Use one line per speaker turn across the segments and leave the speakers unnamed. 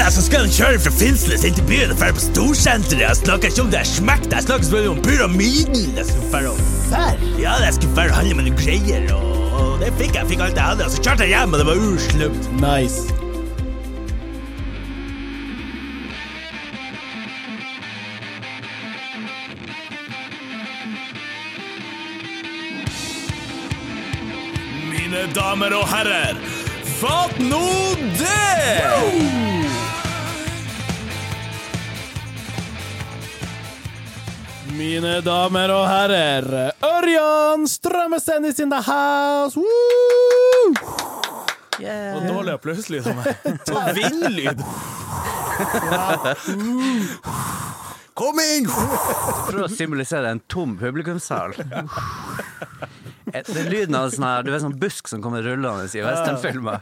der som skal kjøre fra Finnsnes inn til byen og dra på storsenteret. Jeg snakker ikke om det er smekt, jeg snakker bare om pyramiden. Jeg skulle dra og ferre. Ja, jeg skulle dra og handle med noen greier, og, og det fikk jeg. Fikk alt jeg hadde. Og så kjørte jeg hjem, og det var uslumt.
Nice.
Mine damer og herrer, fatt nå det!
Mine damer og herrer, Ørjan Strømmesen is in the house! Woo!
Og dårlig liksom. applauslyd av meg. Så vindlyd. Kom inn!
prøver å symbolisere en tom publikumssal. Eh, Det er lyden av en sånn her, du vet, sånn busk som kommer rullende i westernfilmer.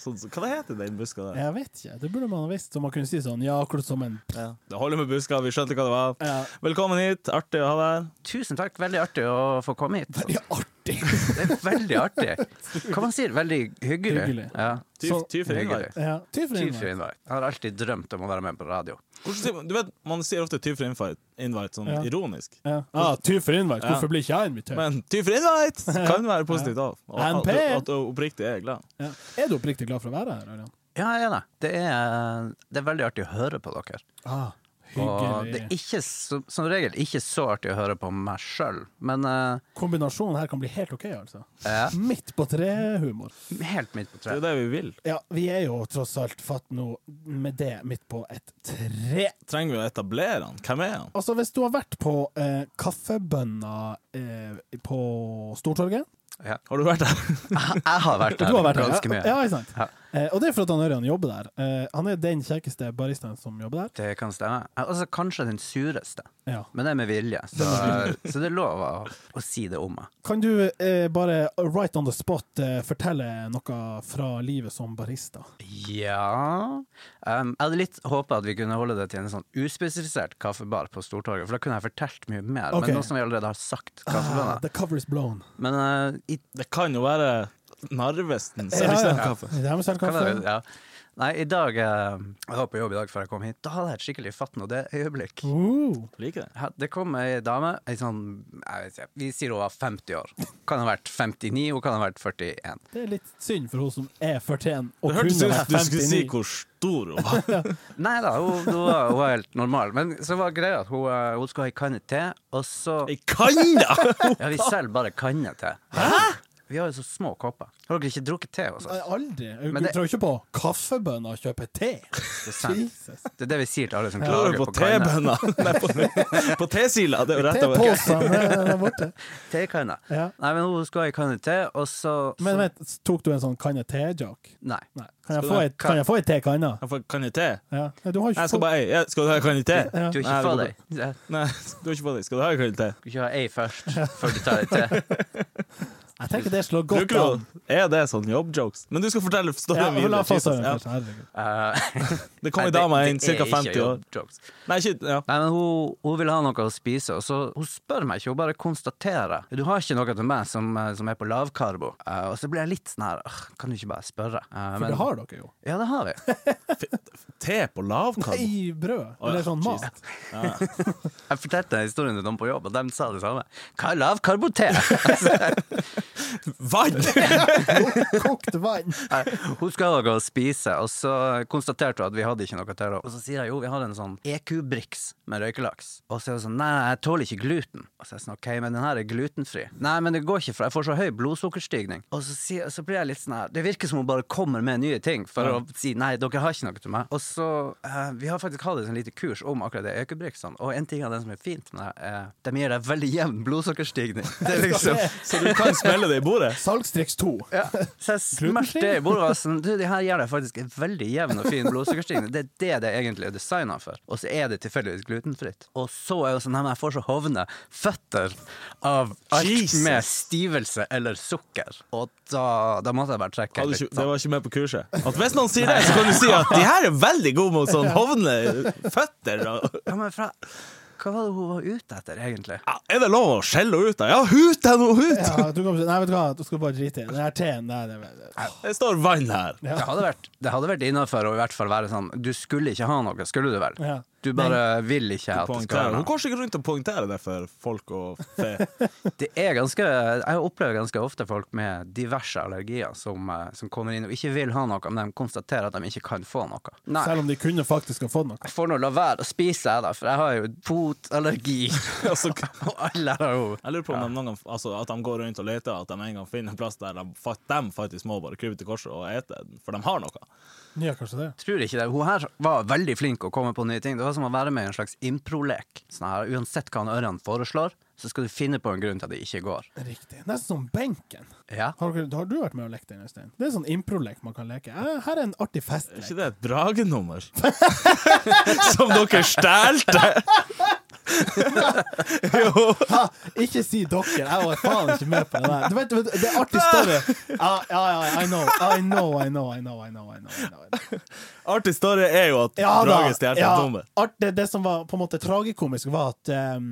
Sånn, så, hva det heter den buska der?
Jeg vet ikke, det burde man ha visst, så man kunne si sånn, ja, akkurat som en
Det holder med buska, vi skjønte hva det var.
Ja.
Velkommen hit, artig å ha deg her.
Tusen takk, veldig artig å få komme hit.
Det er artig.
Det er veldig artig. Hva man sier, veldig hyggelig.
Hyggelig.
Ja.
Ty,
Så-
ty for innvei.
Hyggelig.
Ja, ty for
Tyv for
innvei.
innvei. Jeg har alltid drømt om å være med på radio.
Hvordan sier man- Du vet, Man sier ofte 'ty for invite', invite sånn
Ja.
ironisk.
Ja, ah, ty for innvei.
Ja.
Hvorfor blir ikke jeg invitert?
Men 'ty for invite' kan være positivt av. Og
NP.
at, du- at du oppriktig er glad.
Ja. Er du oppriktig glad for å være her, Ørjan?
Ja, jeg er det. Det er, det er veldig artig å høre på dere.
Ah,
Og det
hyggelig.
er ikke, så- som regel ikke så artig å høre på meg sjøl, men eh,
Kombinasjonen her kan bli helt OK, altså.
Ja.
Midt på tre-humor.
helt midt på
Det er
treet.
det vi vil.
Ja, vi er jo tross alt fatt nå med det midt på et tre.
Trenger vi å etablere han? Hvem er han?
Altså, hvis du har vært på eh, kaffebønna eh, på Stortorget
Ja.
Har du vært der?
Jeg jeg har vært
Du
der
har vært der,
ganske mye.
Ja, ja, ikke sant?
Ja.
Eh, og det er for at han Ørjan jobber der. Eh, han er den kjekkeste baristaen som jobber der.
Det kan stemme. Altså, kanskje den sureste,
Ja.
men det er med vilje. Så, så det er lov å, å si det om meg.
Kan du eh, bare right on the spot eh, fortelle noe fra livet som barista?
Ja um, Jeg hadde litt håpa at vi kunne holde det til en sånn uspesifisert kaffebar på Stortorget, for da kunne jeg fortalt mye mer.
Ok.
Men nå som vi allerede har sagt
Ah,
kaffebønner
the cover is blown.
Men eh, i,
Det kan jo være liksom Narvesten.
Ja, ja.
Servicekaffe.
Det
hva
er med
var det?
selvkaffe.
Ja. Nei, i dag eh, Jeg var på jobb i dag før jeg kom hit. Da hadde jeg et skikkelig fatten, og det øyeblikk.
Uh,
Liker det.
Ja, Det kom ei dame, ei sånn jeg vet ikke, Vi sier hun var 50 år. Kan ha vært 59, hun kan ha vært 41.
det er litt synd for hun som er 41 og
Det
kunne
hørtes ut som
vært
du skulle si
59.
hvor stor hun var.
Nei da, hun, hun, var, hun var helt normal. Men så var greia at hun, eh, hun skulle ha ei kanne te, og så
Ei kanne!
Ja, vi selger bare kanne te. Vi har jo så små kopper. Har dere ikke drukket te hos
Nei,
oss?
aldri. Du
Men det-
tror ikke på kaffebønner og kjøpe te.
Det er, sant.
Jesus.
det er det vi sier til alle som
Klarer
klager
du
på
på
kanne.
tebønna? Nei, på, på tesila. Det er jo rett over.
Teposene er eh, der borte.
Tekanne.
Ja.
Nei, men hun skulle ha ei kanne te, og så, så
Men vent, tok du en sånn kanne te-joke?
Nei.
Nei. Kan jeg
Skal
få
du-
et, kan jeg få et te kanne?
Jeg får kanne te.
Ja. Nei, Du har ikke
Jeg skal bare ei. Ja, Skal du ha en kanne te?
Ja.
Du er ikke
Nei, det
fra
går
deg. Du skal
Nei, du har ikke fått det. Skal du ha en kanne te?
ikke ha ei først, før du tar ei te.
Jeg tenker det slår godt
Bruker du
an.
Er det sånn jobbjokes? Men du skal fortelle
Ja,
storyen
men la
videre.
oss ta
Jesus,
den
ja.
først, herregud.
Uh,
Det kom ei dame inn, ca. 50 år.
jokes.
Nei, ikke ja.
Nei, men hun, hun vil ha noe å spise, og så hun spør meg ikke, hun bare konstaterer. Du har ikke noe til meg som, eh, som er på lavkarbo. Eh, og så blir jeg litt sånn her, «Åh, kan du ikke bare spørre? Eh,
For
men-
det har dere jo.
Ja, det har vi.
Te på
I
lavkarbo.
brød. Eller sånn
Jesus.
mat.
Jeg fortalte den historien til noen på jobb, og de sa det samme. Hva er lavkarbote? Altså,
Vann!
Kokt vann.
eh, hun skal ha noe å spise, og så konstaterte hun at vi hadde ikke noe til henne. Og så sier jeg jo, vi har en sånn EQ-briks med røykelaks. Og så er hun sånn, nei, nei, jeg tåler ikke gluten. Og så er jeg sånn, ok, men den her er glutenfri. Nei, men det går ikke, for jeg får så høy blodsukkerstigning. Og så, sier, så blir jeg litt sånn her, det virker som hun bare kommer med nye ting for å si nei, dere har ikke noe til meg. Og så, eh, vi har faktisk hatt et sånn lite kurs om akkurat det EQ-briksene, og en ting av den som er fint med det, er at de gir deg veldig jevn blodsukkerstigning. Det er liksom...
Så du kan smelle det i bordet?
Salgstriks 2.
Ja. Så jeg
Glutenfri?
smerte i bordet og sånn, Du, det her gjør deg faktisk en veldig jevn og fin blodsukkerstigning. Det er det det egentlig er designa for. Og så er det tilfeldigvis glutenfritt. Og så er jo sånn Nei, men jeg får så hovne føtter av alt
Jesus.
med stivelse eller sukker. Og da, da måtte jeg bare trekke.
Hadde
litt
ikke, det var ikke med på kurset. At hvis noen sier det, så kan du si at de her er veldig gode mot sånn hovne føtter. Og
Ja, men fra Hva var det hun var ute etter, egentlig?
Ja, er det lov å skjelle henne ut? da? Ja, hut er noe hut!
Ja, du kan, nei, vet du hva, du skal bare drite i det. Den her teen der det, det.
Det står vann her.
Ja.
Det hadde vært, det hadde vært innafor å i hvert fall være sånn Du skulle ikke ha noe, skulle du vel?
Ja.
Du bare vil ikke at det skal
Poengtere.
være
Hun
noe.
går sikkert rundt og poengterer det for folk og fe.
Det er ganske, jeg opplever ganske ofte folk med diverse allergier som, eh, som kommer inn og ikke vil ha noe, men de konstaterer at de ikke kan få noe. Nei.
Selv om de kunne faktisk ha fått noe.
Jeg får nå la være å spise, jeg, da, for jeg har jo fotallergi.
Altså,
Og alle har jo
jeg lurer på om de noen gang, altså, at de går rundt og leter, at de en gang finner en plass der de, fa- de faktisk må bare krype til korset og ete, for de har noe.
Ja, kanskje det.
Tror ikke det. Hun her var veldig flink å komme på nye ting. Det var som å være med i en slags improlek. Sånn her, uansett hva han Ørjan foreslår, så skal du finne på en grunn til at det ikke går.
Riktig. Nesten som benken.
Ja.
Har, dere- har du vært med og lekt den, Øystein? Det er sånn improlek man kan leke. Eh, Her er en artig
Er
festlek.
ikke det et dragenummer? Som dere stjelte! jo.
Ha, ikke si dere, jeg var faen ikke med på det der. Du vet, vet, du, det er artig story. Ja, ja, ja, I know, I know, I know, I know, I know, I know, I know.
Artig story er jo at
Ja da.
dragen stjelte
ja,
et nummer.
art, det, det som var på en måte tragikomisk, var at ehm,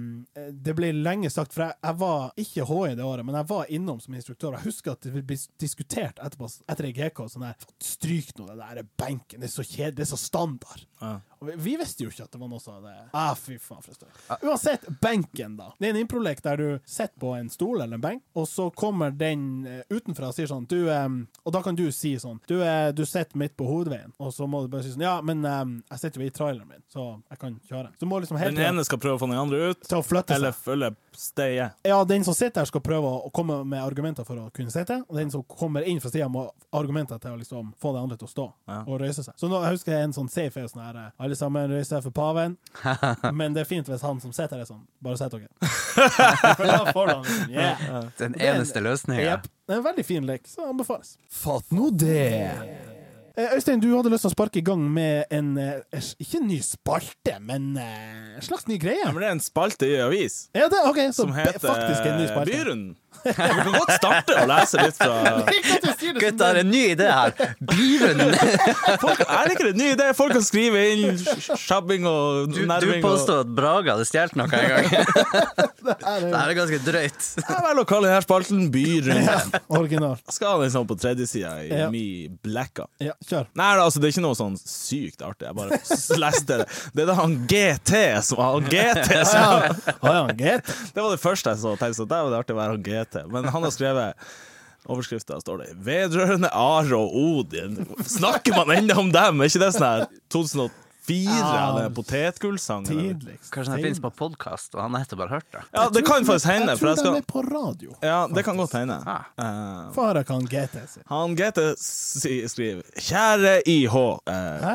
det ble lenge sagt, for jeg, jeg var ikke HI det året, men jeg var innom som instruktør. Jeg husker at det ble diskutert etterpå, etter ei GK, sånn her Stryk nå den der benken, det er så kjedelig, det er så standard.
Ja.
Og vi, vi visste jo ikke at det var noe som hadde ah, fy faen, for en stund. Uansett, benken, da. Det er en improlek der du sitter på en stol eller en benk, og så kommer den eh, utenfra og sier sånn du, em, Og da kan du si sånn Du, eh, du sitter midt på hovedveien, og så må du bare si sånn Ja, men em, jeg sitter jo i traileren min, så jeg kan kjøre. Så du må liksom hele
Den
tiden
ene skal prøve å få den andre ut,
til å flytte seg.
eller følge stedet.
Ja, den som sitter her, skal prøve å å komme med argumenter for å kunne sitte, og den som kommer inn fra sida, må ha argumenter til å liksom få de andre til å stå
Ja.
og røyse seg. Så nå jeg husker jeg en sånn safe er jo sånn her eh, Alle sammen røyser seg for paven, men det er fint hvis han som sitter her, er sånn Bare sett dere. for da får han liksom Yeah.
Den
er en-
eneste løsninga.
Jep. Det er en veldig fin lek, så anbefales. Fatt nå det! Eh, Øystein, du hadde lyst til å sparke i gang med en eh, Ikke en ny spalte, men eh, en slags ny greie.
Ja, men det er en spalte i avis
Ja, det, ok, så
som
be-
heter eh,
faktisk en ny spalte.
Byrunden. Vi kan godt starte å lese litt fra
Ikke at du sier det som
Gutta har en ny idé her! Byrunden!
folk, Jeg liker det nye ideer. Folk kan skrive inn sjabbing og
Du, du
nerving. og-
påstod at Braga hadde stjålet noe en gang.
er
Det
det.
her er ganske drøyt.
Jeg velger å kalle denne spalten Byrunden.
Original.
Jeg skal ha den sånn på tredjesida i
Ja.
mi blacka.
Ja, kjør.
Nei, altså, det er ikke noe sånn sykt artig. Jeg bare s- leste det. Det er da han GT som han GT som
Ja. Har han gett?
Det var det første jeg så. tenkte så Der var det artig å være han GT. Men han har skrevet Overskrifta står det 'Vedrørende Are og Odin'. Snakker man ennå om dem? Er ikke det sånn her 2004?
Ja,
den potetgullsangen? eller?
Tidligst.
Kanskje den finnes på podkast, og han har nettopp bare hørt det.
Ja, det kan faktisk hende.
Jeg
For
tror
jeg skal
den er på radio.
Ja, det kan godt hende.
Ah.
Eh,
Fara kan GT sin.
han GT si- skriver 'Kjære IH'. eh,
Hæ?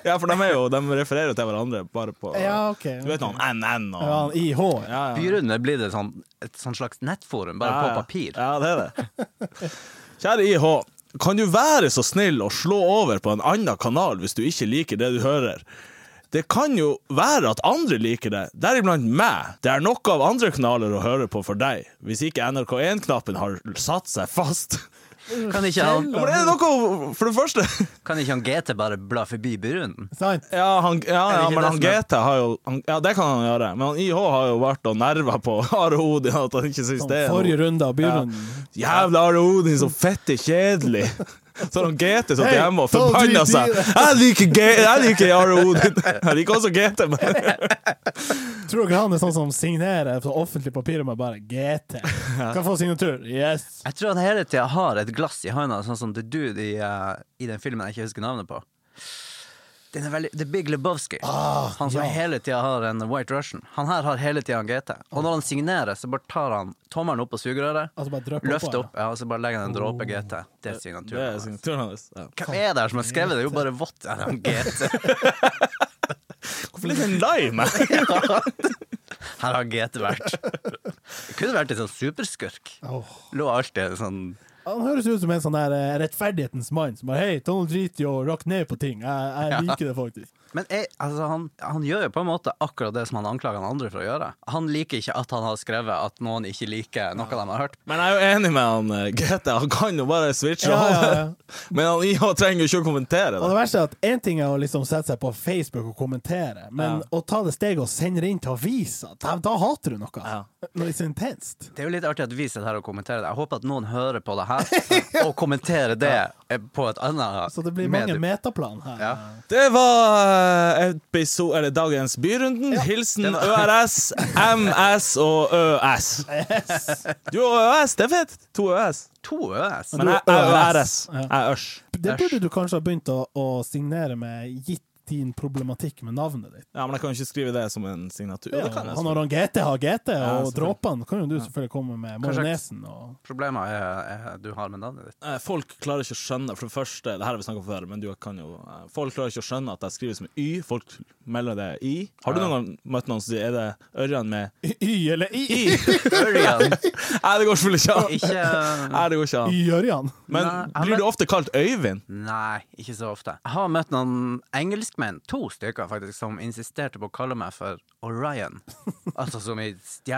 ja, for de, er jo, de refererer jo til hverandre bare på
Ja, OK.
Du vet noe om NN og
Ja, han IH. Ja.
Ja, ja.
Byrunden er blitt et sånn, et sånn slags nettforum, bare
Ja, ja.
på papir.
Ja, det er det. Kjære IH, kan du være så snill å slå over på en annen kanal hvis du ikke liker det du hører? Det kan jo være at andre liker det, deriblant meg. Det er nok av andre kanaler å høre på for deg, hvis ikke NRK1-knappen har satt seg fast.
Kan ikke han,
Ja, Men er det noe, for det første
kan ikke han GT bare bla forbi Byrunden?
Sant?
Ja, han, ja,
Er det
ja
ikke
men
det som
han
er-
GT har jo han, Ja, det kan han gjøre, men han IH har jo vært og nerva på Are Odin at han ikke syns det er noe.
Forrige runde av byrunden.
Jævla Are Odin, så fette kjedelig. Så han GT satt
Hei,
hjemme og
ta og
forbanna
drit i
seg.
det.
Jeg liker, G jeg liker Are Odin. Jeg liker også GT, men
Tror dere han er sånn som signerer på offentlig papir med bare GT? Kan få signatur. Yes.
Jeg tror han hele tida har et glass i handa, sånn som The Dude i, eh, i den filmen jeg ikke husker navnet på. Den er veldig, The Big Lebowski. han som
Ah, ja.
hele tida har en White Russian. Han her har hele tida en GT. Og når han signerer, så bare tar han tommelen opp på sugerøret,
Altså bare drypper
løfter
oppå,
opp, ja, og så bare legger han en
Oh.
dråpe GT. Det er
Det er
signaturen.
signaturen hans. Ja.
Hvem er det her som har skrevet det? Det er jo bare vått. Ja, det er en GT.
Hvorfor liker han lime?
Her har GT vært. Det kunne vært en sånn superskurk.
Åh.
Lå alltid en sånn
Han høres ut som en sånn der eh, rettferdighetens mann som bare Hei, ta noe drit i å rakke ned på ting. Jeg, jeg liker det faktisk.
Men jeg, altså, han, han gjør jo på en måte akkurat det som han anklager han andre for å gjøre. Han liker ikke at han har skrevet at noen ikke liker noe de har hørt.
Men jeg er jo enig med han eh, Grete. Han kan jo bare switche
Ja, ja,
over.
ja.
Men han han trenger jo ikke å kommentere
Og
det.
det verste er at én ting er å liksom sette seg på Facebook og kommentere, men
Ja.
å ta det steget og sende det inn til avisa, da, da hater du noe.
Ja.
Når det er så intenst.
Det er jo litt artig at vi sitter her og kommenterer det. Jeg håper at noen hører på det her og kommenterer det eh, på et annet
Så det blir mange
medium.
metaplan her.
Ja.
Det var eh, episo- eller dagens Byrunden. Hilsen ØRS, MS og ØS.
Yes.
Du og ØS, det er fett. To ØS.
To øs.
Men jeg
Du
jeg
er
er
ØS.
ØRS. Jeg er Ørs.
Det burde du kanskje ha begynt å, å signere med, gitt din problematikk med navnet ditt.
Ja, men jeg kan jo ikke skrive det som en signatur. det kan jeg.
han har han GT, har GT, og
selvfølgelig.
dråpene kan jo du selvfølgelig komme med. Majonesen og
Problemet er, er du har med navnet ditt.
Eh, Folk klarer ikke å skjønne For det første, det her har vi snakket om før, men du kan jo eh, Folk klarer ikke å skjønne at jeg skriver som Y. Folk melder det I. Har du
Ja.
noen gang møtt noen som sier Er det Ørjan med
Y eller I?
I?
Ørjan,
Nei, det går selvfølgelig ikke an.
ikke
Nei, det går ikke an.
Y-Ørjan.
Men
Nei, jeg
blir
vet-
du ofte kalt Øyvind?
Nei, ikke så ofte. Jeg har møtt noen engelskmenn, to stykker faktisk, som insisterte på å kalle meg for Orion. Altså som i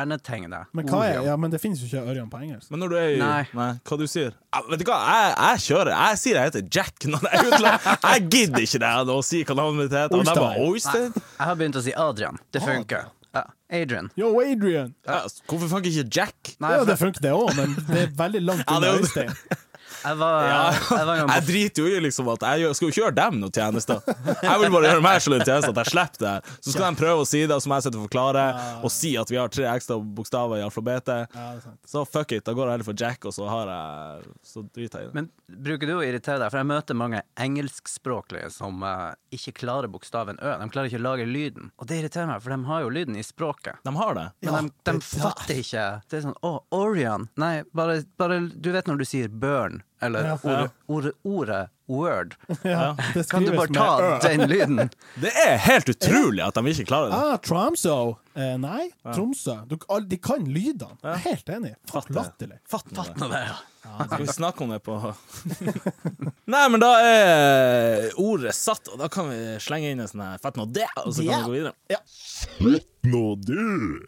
stjernetegnet.
Men hva er
Orion.
Ja, men det finnes jo ikke Ørjan på engelsk.
Men når du er i
Nei.
hva du sier Ja, Vet du hva, jeg, jeg kjører. Jeg sier jeg heter Jack når jeg er utlandet. Jeg gidder ikke det å si hva navnet mitt heter. Og de bare Oystein?
Jeg har begynt å si Adrian.
Ah.
Det funker. Ja, Adrian.
Yo, Adrian!
Ja, altså, hvorfor faen ikke Jack?
Nei,
Ja,
for
det funker det òg, men det er veldig langt
Ja, det
unna
er jo-
Øystein.
jeg var, jeg var en gang på
Jeg driter jo i liksom at jeg gjør- skal jo ikke gjøre dem noen tjenester. Jeg vil bare gjøre meg selv en tjeneste, at jeg slipper det her. Så skal de prøve å si det, og så må jeg sitte og forklare, og si at vi har tre ekstra bokstaver i alfabetet.
Ja, det er sant.
Så fuck it, da går jeg heller for Jack, og så har jeg Så driter jeg i det.
Men bruker du å irritere deg? For jeg møter mange engelskspråklige som eh, ikke klarer bokstaven Ø. De klarer ikke å lage lyden. Og det irriterer meg, for de har jo lyden i språket.
De har det.
Men
Ja,
de,
det der.
de fatter ikke. Det er sånn Å, Orion. Nei, bare, bare Du vet når du sier burn, eller
Ja.
ordet, ordet, ordet word.
Ja, det
Kan du
skrives
bare
med
ta
Ø.
den lyden?
Det er helt utrolig at de ikke klarer det.
Ah, Tromsø. Eh, nei, Tromsø. Du, all- de kan lydene. Jeg er helt enig. Fatt
det.
latterlig.
Fatt nå det.
Nå det, ja.
Skal vi snakke om det på Nei, men da er ordet satt, og da kan vi slenge inn en sånn her Fett nå det, og så kan vi gå videre.
Ja.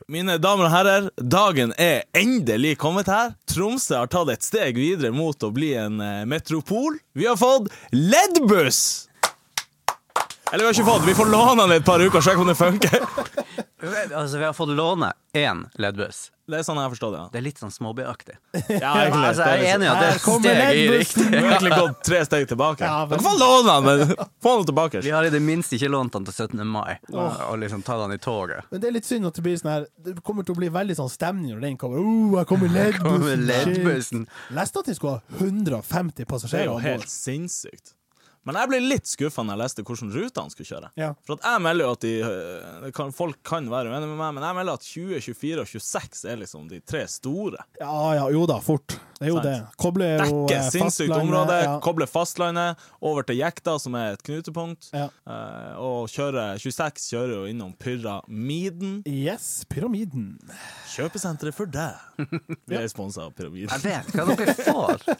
Mine damer og herrer, dagen er endelig kommet her. Tromsø har tatt et steg videre mot å bli en eh, metropol. Vi har fått leddbuss! Eller vi har ikke fått, vi får låne den i et par uker og sjekke om det funker.
Altså, vi har fått låne én leddbuss.
Det er sånn jeg forstår det.
Det er litt sånn småbyaktig.
Ja, ja liksom-
Altså, jeg er enig i at det er
Her
et
kommer
steg i
leddbussen.
riktig
Vi har egentlig gått tre steg tilbake.
Ja, vel.
Dere får låne den, men få den tilbake.
Vi har i det minste ikke lånt den til 17. mai, og liksom tatt den i toget.
Men det er litt synd at det blir sånn her Det kommer til å bli veldig sånn stemning når den kommer. Oh, jeg kommer
Kommer
leddbussen.
leddbussen.
Shit. Leste at de skulle ha 150
Det er
passasjerer
jo
om
helt
bord.
sinnssykt. Men jeg ble litt skuffa når jeg leste hvordan rutene skulle kjøre.
Ja.
For at jeg melder jo at de, øh, det kan, Folk kan være uenige med meg, men jeg melder at 20, 24 og 26 er liksom de tre store.
Ja ja, jo da, fort. Det er jo
Sant.
det. Kobler jo
Dekke
eh,
sinnssykt
fastlandet,
område,
ja.
koble fastlandet, over til Jekta, som er et knutepunkt,
Ja.
eh, og kjøre 26 kjører jo innom Pyramiden.
Yes, Pyramiden.
Kjøpesenteret for deg. Vi er sponsa av
Jeg
Pyramiden.
vet hva dere får!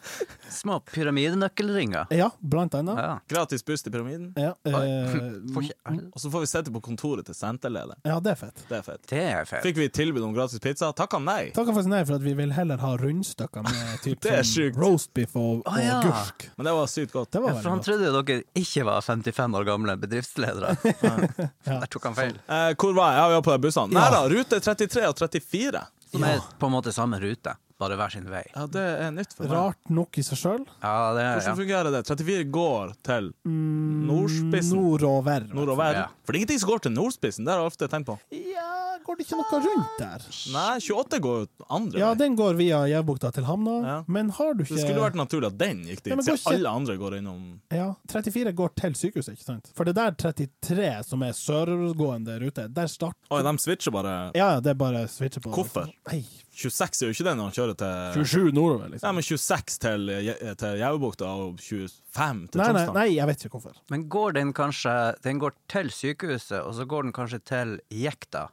Små pyramidenøkkelringer.
Ja, blant annet.
Ja.
Gratis buss til Pyramiden.
Ja, eh,
Får ikke-
Og så får vi sitte på kontoret til senterleder.
ja det er fett.
Det er fett.
Det er feil.
Fikk vi tilbud om gratis pizza? Takka nei.
Takk for nei, for at vi vil heller ha rundstykker med typ
Det er
sånn
sjukt.
roast beef og, og
Å, ja.
gurk.
Men det var sykt godt. Eh,
Det var
Ja, for
veldig
han
godt.
trodde jo dere ikke var 55 år gamle bedriftsledere. Der tok han feil.
Eh, hvor var jeg? Ja, vi var på de bussene. Nei da, rute 33 og 34.
Som er på en måte samme rute, bare hver sin vei.
Ja, det er nytt for meg.
Rart nok i seg sjøl.
Ja, det er,
Hvordan
ja.
fungerer det? 34 går til nordspissen.
Nordover.
Nordover.
Ja.
For det er ingenting som går til nordspissen, det har jeg ofte tenkt på.
Ja, går det ikke noe rundt der?
Nei, 28 går jo andre
Ja,
vei.
den går via Jævbukta til havna,
Ja.
men har du
Det
ikke
skulle vært naturlig at den gikk dit,
Ja, men går
siden
ikke-
alle andre går innom
ja, 34 går til sykehuset, ikke sant? For det der 33 som er sørgående rute, der starter
Oi, de switcher bare.
Ja, ja, det er bare å switche på.
Hvorfor?
Nei,
26 er jo ikke det når han kjører til
27 nordover,
Nei,
liksom.
men 26 til, Je- til Jaubukta og 25 til
Nei, nei,
Tromsdalen.
nei, jeg vet ikke hvorfor.
Men går den kanskje Den går til sykehuset, og så går den kanskje til Jekta,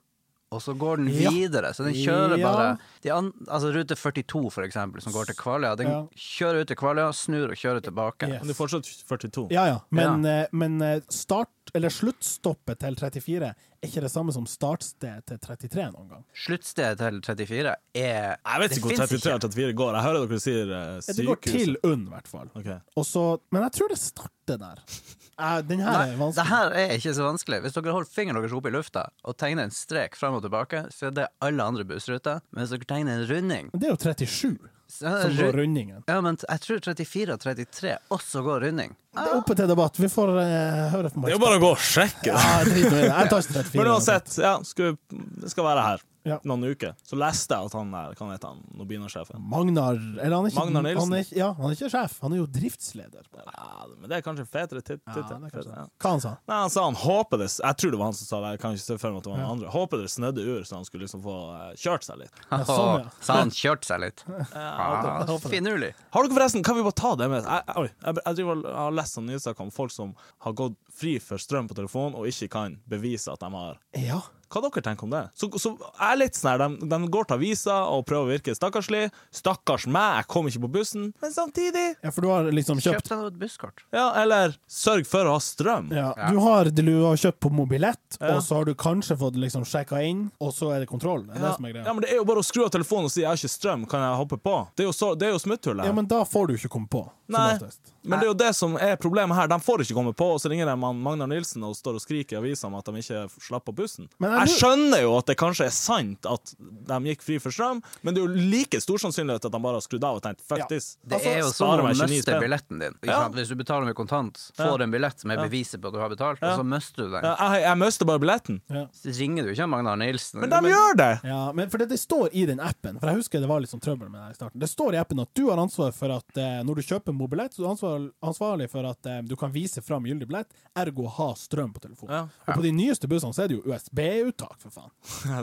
og så går den
Ja.
videre. Så den kjører
Ja.
bare de an, Altså rute 42, for eksempel, som går til Kvaløya. Den
Ja.
kjører ut til Kvaløya, snur og kjører tilbake.
Yes.
Men det er fortsatt 42.
Ja, ja. Men, eh, men eh, start, eller sluttstoppet til 34 er ikke det samme som startsted til 33 noen gang.
Sluttstedet til 34 er
Jeg vet ikke hvor
finnes
33 og 34 går. Jeg hører dere sier eh,
Ja, Det går
sykehus.
til UNN, i hvert fall.
Ok.
Og så- Men jeg tror det starter der. Eh, den her er
Nei, det
vanskelig.
her er ikke så vanskelig. Hvis dere holder fingeren deres opp i lufta og tegner en strek frem og tilbake, så er det alle andre bussruter. Men hvis dere tegner en runding
Men det er jo 37
så er
som
det
går
ru-
rundingen.
Ja, men jeg tror 34 og 33 også går runding.
Det er oppe til debatt. Vi får eh, høre på
Det er
Mike.
jo bare å gå og sjekke.
Ja, jeg driter nå i det. Jeg tar ikke 34.
Men uansett, ja, skulle, det skal være her
Ja.
noen uker. Så leste jeg at han der, hva heter han, Nobina-sjefen.
Magnar Eller han er ikke,
Magnar Nilsen.
Han er, ikke- ja, han er ikke sjef, han er jo driftsleder.
Ja, men det er kanskje en fetere tit-
Ja,
tittel.
det er kanskje
Ja.
det. Hva han sa
Nei, han sa han håper det Jeg tror det var han som sa det, jeg kan ikke se for meg at det var noen andre. Håper det snødde ur, så han skulle liksom få eh, kjørt seg litt.
Ja, sånn, ja.
Så han kjørte seg litt.
Ja,
Ah, Finurlig.
Har dere forresten, kan vi bare ta det med Jeg, oi, jeg, jeg, driver og- jeg har lest sånne nyhetssaker om folk som har gått fri for strøm på telefon og ikke kan bevise at de har
Ja.
Hva dere tenker om det? Så, så jeg er litt sånn her, de, de går til avisa og prøver å virke stakkarslig. Stakkars meg, jeg kom ikke på bussen. Men samtidig
ja, for du har liksom
Kjøp
kjøpt
deg et busskort.
Ja, eller sørg for å ha strøm.
ja. Du, har, du har kjøpt på mobilett,
Ja.
og så har du kanskje fått liksom sjekka inn, og så er det kontroll. Det er det som er greia.
Ja, men det er jo bare å skru av telefonen og si 'jeg har ikke strøm, kan jeg hoppe på'? Det er jo, så, det er jo smutthullet.
Ja,
her.
men da får du ikke komme på. Som
Nei.
oftest.
Men det er jo det som er problemet her. De får ikke komme på, og så ringer de han Magnar Nilsen og står og skriker i avisa om at de ikke slapp på bussen.
Men
Jeg,
jeg lurer-
skjønner jo at det kanskje er sant at de gikk fri for strøm, men det er jo like stor sannsynlighet at de bare har skrudd av og tenkt 'fuck
Ja.
this'.
Det
Altså,
er jo
sparer
sånn å
meg 29
miste
spenn.
billetten din. Ikke
Ja.
sant? Hvis du betaler med kontant, får en billett med beviset på at du har betalt, og så mister du den.
Ja, Jeg, jeg mister bare billetten.
Så ringer du ikke Magnar Nilsen.
Men de gjør det!
Ja, men for det, det står i den appen, for jeg husker det var litt sånn trøbbel med det her i starten. Det står i appen at du har ansvar for at eh, når du kjøper mobilett, så er du ansvar, ansvarlig for at eh, du kan vise fram gyldig billett, ergo ha strøm på telefonen.
Ja.
Og på de nyeste bussene så er det jo USB-uttak, for faen.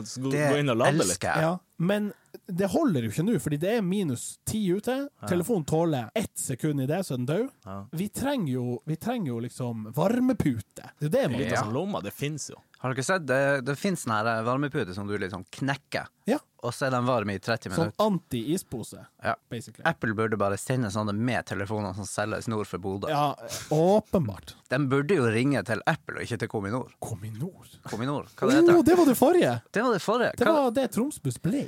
Du skal
det
gå inn og lade litt.
elsker jeg.
Ja, men det holder jo ikke nå, fordi det er minus ti ute. Telefonen tåler ett sekund i det, så er den død. Vi trenger jo, vi trenger jo liksom varmepute. Det er jo det man
Litt
Ja.
av sånn lomma, det fins jo.
Har dere sett? Det, det fins sånne her varmeputer som du liksom knekker,
Ja,
og så er de varme i 30
sånn
minutter.
anti-ispose,
Ja.
basically.
Apple burde bare sende sånne med telefoner som selges nord for Bodø.
Ja, åpenbart.
De burde jo ringe til Apple og ikke til Kominor.
Kominor.
Kominor, hva det
Jo,
Oh!
heter det?
Oh, det var det forrige!
Det var det forrige.
Det
Hva-
var det Tromsbuss ble.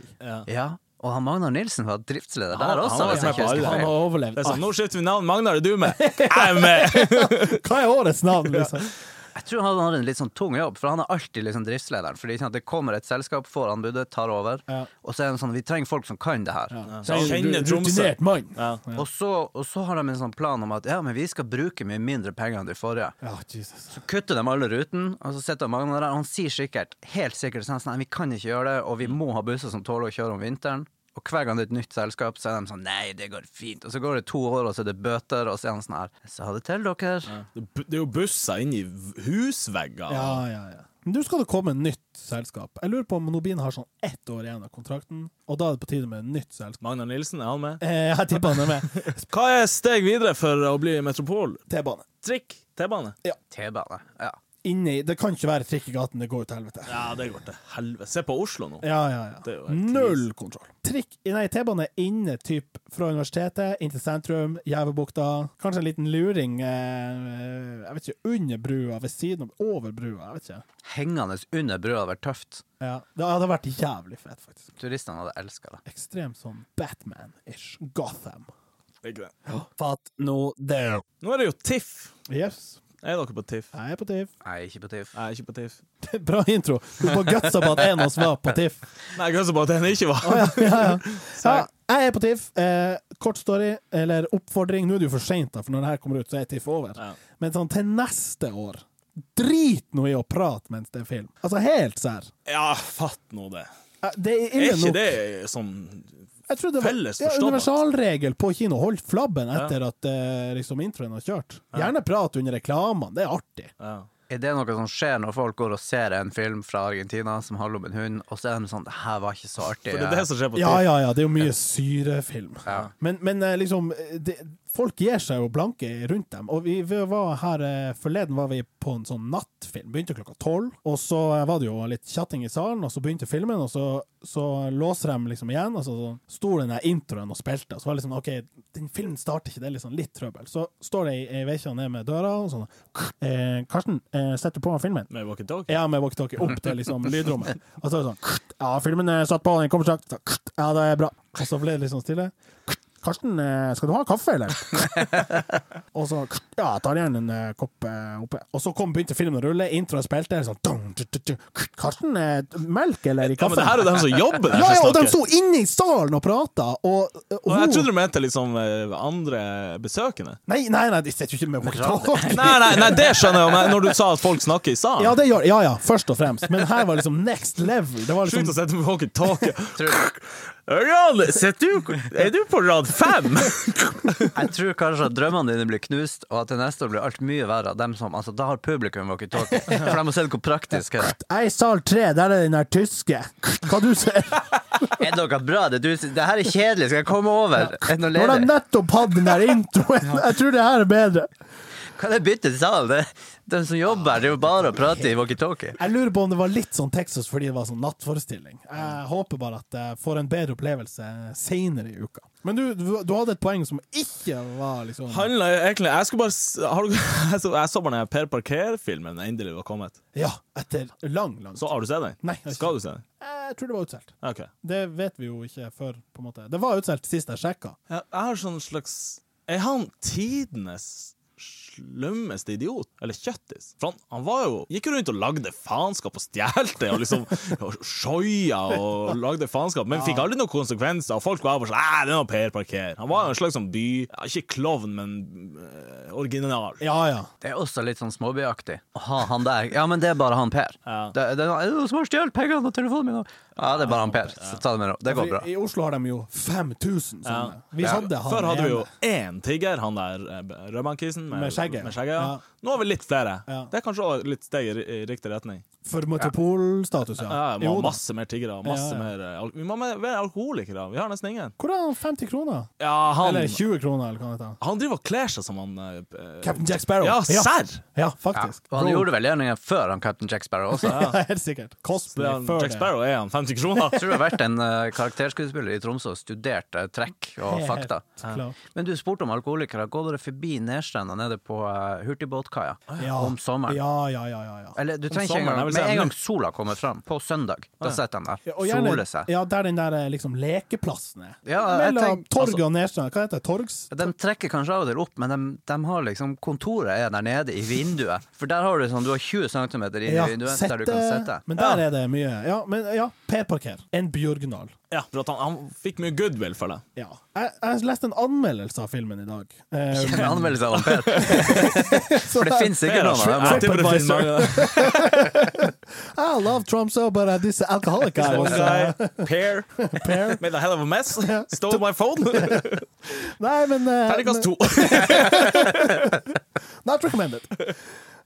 Ja, og han Magnar Nilsen var driftsleder
Han-
der også, altså,
han
hvis
var med
jeg ikke
på
husker
alle.
Han
feil.
har overlevd.
Det er sånn, Nå skifter vi navn. Magnar, er du med? Jeg er med!
Hva er årets navn, liksom?
Jeg tror han har en litt sånn tung jobb, for han er alltid liksom driftslederen. Fordi sånn at det kommer et selskap, får anbudet, tar over,
Ja.
og så er han sånn Vi trenger folk som kan det her.
Så han kjenner Tromsø.
Rutinert mann.
Ja.
Og, så, og så har de en sånn plan om at ja, men vi skal bruke mye mindre penger enn de forrige.
Ja, Jesus.
kutter de alle ruten, og så sitter Magnar der. Og han sier sikkert, helt sikkert sånn nei, vi kan ikke gjøre det, og
Mm.
vi må ha busser som tåler å kjøre om vinteren. Og hver gang det er et nytt selskap, så er de sånn nei, det går fint. Og så går det to år, og så er det bøter, og så er han sånn her, jeg sa det til dere.
Det er jo busser inni husvegger.
Ja, ja, ja. Men nå skal det komme et nytt selskap. Jeg lurer på om Nobin har sånn ett år igjen av kontrakten, og da er det på tide med et nytt selskap.
Magnar Nilsen, er han med?
Eh, jeg tipper han er med.
Hva er steg videre for å bli metropol?
T-bane.
Trikk, T-bane.
T-bane. Ja.
Inni Det kan ikke være trikk i gaten, det går jo til helvete.
Ja, det går til helvete. Se på Oslo nå.
Ja, ja,
Det er jo
ja.
helt krise.
Null kontroll. Trikk Nei, T-bane inne, typ fra universitetet, inn til sentrum, Gjævebukta. Kanskje en liten luring eh, Jeg vet ikke, under brua, ved siden av, over brua, jeg vet ikke.
Hengende under brua hadde vært tøft.
Ja, Det hadde vært jævlig fett, faktisk.
Turistene hadde elska det.
Ekstremt sånn Batman-ish. Gotham.
Ikke det.
Fatt nå det.
Nå er det jo TIFF.
Yes.
Er dere på TIFF?
Jeg er på TIFF.
Nei, ikke på TIFF.
Nei, ikke på TIFF.
Bra intro. Du bare gutsa på at en av oss var på TIFF.
Nei, jeg gønner på at den ikke var.
Ja, jeg er på TIFF. Eh, kort story, eller oppfordring. Nå er det jo for seint, for når det her kommer ut, så er TIFF over.
Ja.
Men sånn til neste år Drit nå i å prate mens det er film. Altså helt sær.
Ja, fatt nå det.
Eh, Det er
Er
ille
ikke
nok.
det sånn
Jeg tror det var
felles
ja,
forstått?
universalregel på kino. Hold flabben etter at eh, liksom introen har kjørt. Gjerne prat under reklamene. Det er artig.
ja.
Er det noe som skjer når folk går og ser en film fra Argentina som handler om en hund, og så er de sånn Det her var ikke så artig.
For det er det som skjer på TIFF.
Ja, ja, ja. Det er jo mye syrefilm.
Ja.
Men, men eh, liksom eh, det, Folk gir seg jo blanke rundt dem. Og vi, vi var her eh, Forleden var vi på en sånn nattfilm. Begynte klokka tolv. Og så eh, var det jo litt chatting i salen, og så begynte filmen, og så, så låser de liksom igjen. Og så, så sto den der introen og spilte, og så var det liksom OK, den filmen starter ikke, det er liksom litt trøbbel. Så står det ei- ei vekkja ned med døra, og sånn eh, Karsten, eh, setter på filmen.
Med walkietalkie?
Ja, med walkietalkie opp til liksom lydrommet. Og så er det sånn Ja, filmen er satt på, den kommer straks. Så, Ja, det er bra. Og så ble det liksom stille. Karsten, eh, skal du ha kaffe, eller? og så Ja, jeg tar gjerne en eh, kopp eh, oppe. Og så kom, begynte filmen å rulle, introen spilte, sånn dun, dun, dun, dun. Karsten, eh, melk eller i
Ja, men det
kaffen?
her er dem som jobber der,
Ja, ja,
som
og de
snakker.
sto inne i salen og prata, og, og
Og jeg
hun-
trodde du mente liksom eh, andre besøkende.
Nei, nei, nei, de sitter jo ikke med walkietalkie.
Nei, nei, nei, det skjønner jeg, men når du sa at folk snakker i salen.
Ja, det gjør Ja, ja, først og fremst. Men her var liksom next level. Det var liksom
Slutt å sette walkietalkie.
Tror,
Ørjan, sitter du Er du på rad fem?
jeg tror kanskje at drømmene dine blir knust, og at til neste år blir alt mye verre. av Dem som, altså, da har publikum walkietalkie. For de må se hvor praktisk det er.
Jeg er i sal tre, der er den der tyske. Hva du ser?
Er det noe bra? Det, du, det her er kjedelig, skal jeg komme over? Er det noe
Når de
ledig?
nettopp hadde den der introen. Jeg tror det her er bedre.
Kan jeg bytte sal? Det, de som jobber her, det er jo bare å prate i walkietalkie.
Jeg lurer på om det var litt sånn Texas fordi det var sånn nattforestilling. Jeg håper bare at jeg får en bedre opplevelse seinere i uka. Men du, du, du hadde et poeng som ikke var liksom
Handler egentlig Jeg skulle bare s- har du, jeg, så, jeg så bare den her Per Parker-filmen da endelig var kommet.
Ja, etter lang, lang
Så har du sett den?
Nei, jeg har ikke.
Skal du se den?
Jeg tror det var utsolgt.
Ok.
Det vet vi jo ikke før, på en måte. Det var utsolgt sist jeg sjekka.
Jeg, jeg har sånn slags Er han tidenes slømmeste idiot? Eller kjøttis? For han, han var jo Gikk jo rundt og lagde faenskap og stjelte og liksom og sjoia og lagde faenskap, men fikk aldri noen konsekvenser. Og folk var bare sånn Æh, det er noe Per Parker. Han var jo en slags sånn by ja, Ikke klovn, men eh, original.
Ja ja.
Det er også litt sånn småbyaktig. Å ha han der Ja, men det er bare han Per.
Ja.
Det, det er noen som har stjålet pengene og telefonen min. og- Ja, det er bare han Per. Så ta det med ro. Det går bra.
I Oslo har de jo 5000 sånne. Vi hadde han
Før hadde vi jo
ene.
én tigger, han der eh, rødmannkisen med,
Med skjegget.
med skjegget ja.
Ja.
Nå har vi litt flere.
Ja.
Det er kanskje også litt steg i, i riktig retning.
For metropolstatus, ja.
Ja, vi må
Jo
ha
da.
masse mer tiggere. Masse
Ja, ja.
mer eh, al- Vi må ha mer mer alkoholikere. Vi har nesten ingen.
Hvor er han 50 kroner?
Ja, han,
Eller 20 kroner, eller hva det heter.
han driver og kler seg som han eh,
Captain Jack Sparrow.
Ja,
Ja.
serr!
Ja, faktisk.
Og han gjorde vel gjerninga før han Captain Jack Sparrow også.
Ja, helt sikkert.
Det
Cosplay
er han-
før
Jack Sparrow er han 50 kroner.
Jeg tror det har vært en eh, karakterskuespiller i Tromsø og studert eh, trekk og
Helt
fakta.
klart.
Men du spurte om alkoholikere. Går dere forbi Nedstrenda nede på eh, hurtigbåtkaia
Ja.
om sommeren?
Ja, ja, ja. ja, ja.
Eller du trenger ikke engang
sommeren, jeg vil si
Med en
nå.
gang sola kommer fram, på søndag, da sitter de
Ja,
der.
og gjerne-
Soler seg.
Ja, der den der eh, liksom lekeplassen er.
Ja, jeg
Mellom
tenk- altså-
torget og Nesjøen. Hva heter det? Torgs?
De trekker kanskje av og til opp, men de, de har liksom kontoret er der nede i vinduet. For der har du sånn, du har 20 cm inn i
Ja,
vinduet
sette-
der du kan sitte.
Men der
Ja.
er det mye. Ja, men ja, P-parker. En byorginal.
Ja, for at han, han fikk mye goodwill for det.
Ja. Jeg, jeg leste en anmeldelse av filmen i dag. Eh,
Ikke en Anmeldelse av Per. For det finnes sikkert noen av
Ja,
dem.
det burde finnes
TripAdvisor.
mange.
I love Trump so, but uh, this alcoholic guy was uh,
Pear.
Pear.
Made a hell of a mess. Stole my phone.
Nei, men eh,
Terningkast to.
Not recommended.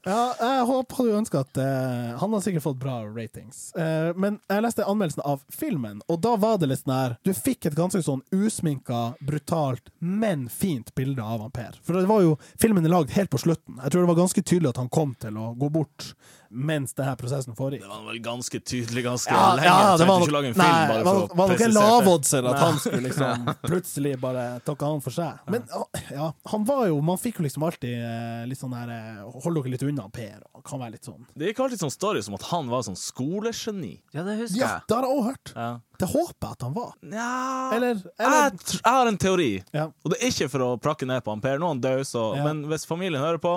Ja, jeg håper du ønsker at eh, Han har sikkert fått bra ratings. Eh, men jeg leste anmeldelsen av filmen, og da var det litt sånn her Du fikk et ganske sånn usminka, brutalt, men fint bilde av han Per. For det var jo filmen er lagd helt på slutten. Jeg tror det var ganske tydelig at han kom til å gå bort mens denne prosessen foregikk.
Det var vel ganske tydelig ganske
Ja,
lenge.
ja, det
Trengte
var
ikke
nok
lage en film
Nei,
bare
var,
for å
var nok en
presisere
lav
det.
oddser at han skulle liksom plutselig bare takke han for seg. Men ja, han var jo Man fikk jo liksom alltid eh, litt sånn her eh, Hold dere litt unna, Per. Og kan være litt sånn.
Det gikk alltid sånn story som at han var sånn skolegeni.
Ja, det husker
Ja,
jeg.
det har jeg òg hørt.
Ja.
Det håper jeg at han var.
Nja
Eller,
jeg,
eller
tr- jeg har en teori,
Ja.
og det er ikke for å prakke ned på han Per, nå er han død, så,
Ja.
men hvis familien hører på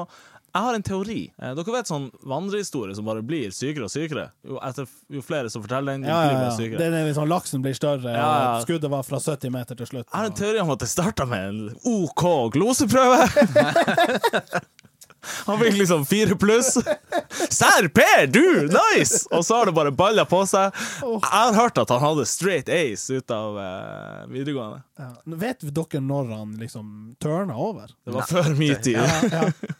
Jeg har en teori. Eh, dere vet sånn vandrehistorie som bare blir sykere og sykere? Jo, etter, f- jo flere som forteller den, jo
Ja, ja,
blir
ja.
man sykere.
Det er liksom laksen blir større,
Ja, ja.
og skuddet var fra 70 meter til slutt.
Jeg har en
og-
teori om at det starta med en OK gloseprøve. Han fikk liksom fire pluss. Sær Per, du! Nice! Og så har det bare balla på seg. Jeg har hørt at han hadde straight ace ut av eh, videregående.
Ja. Nå Vet dere når han liksom turna over?
Det var før min tid.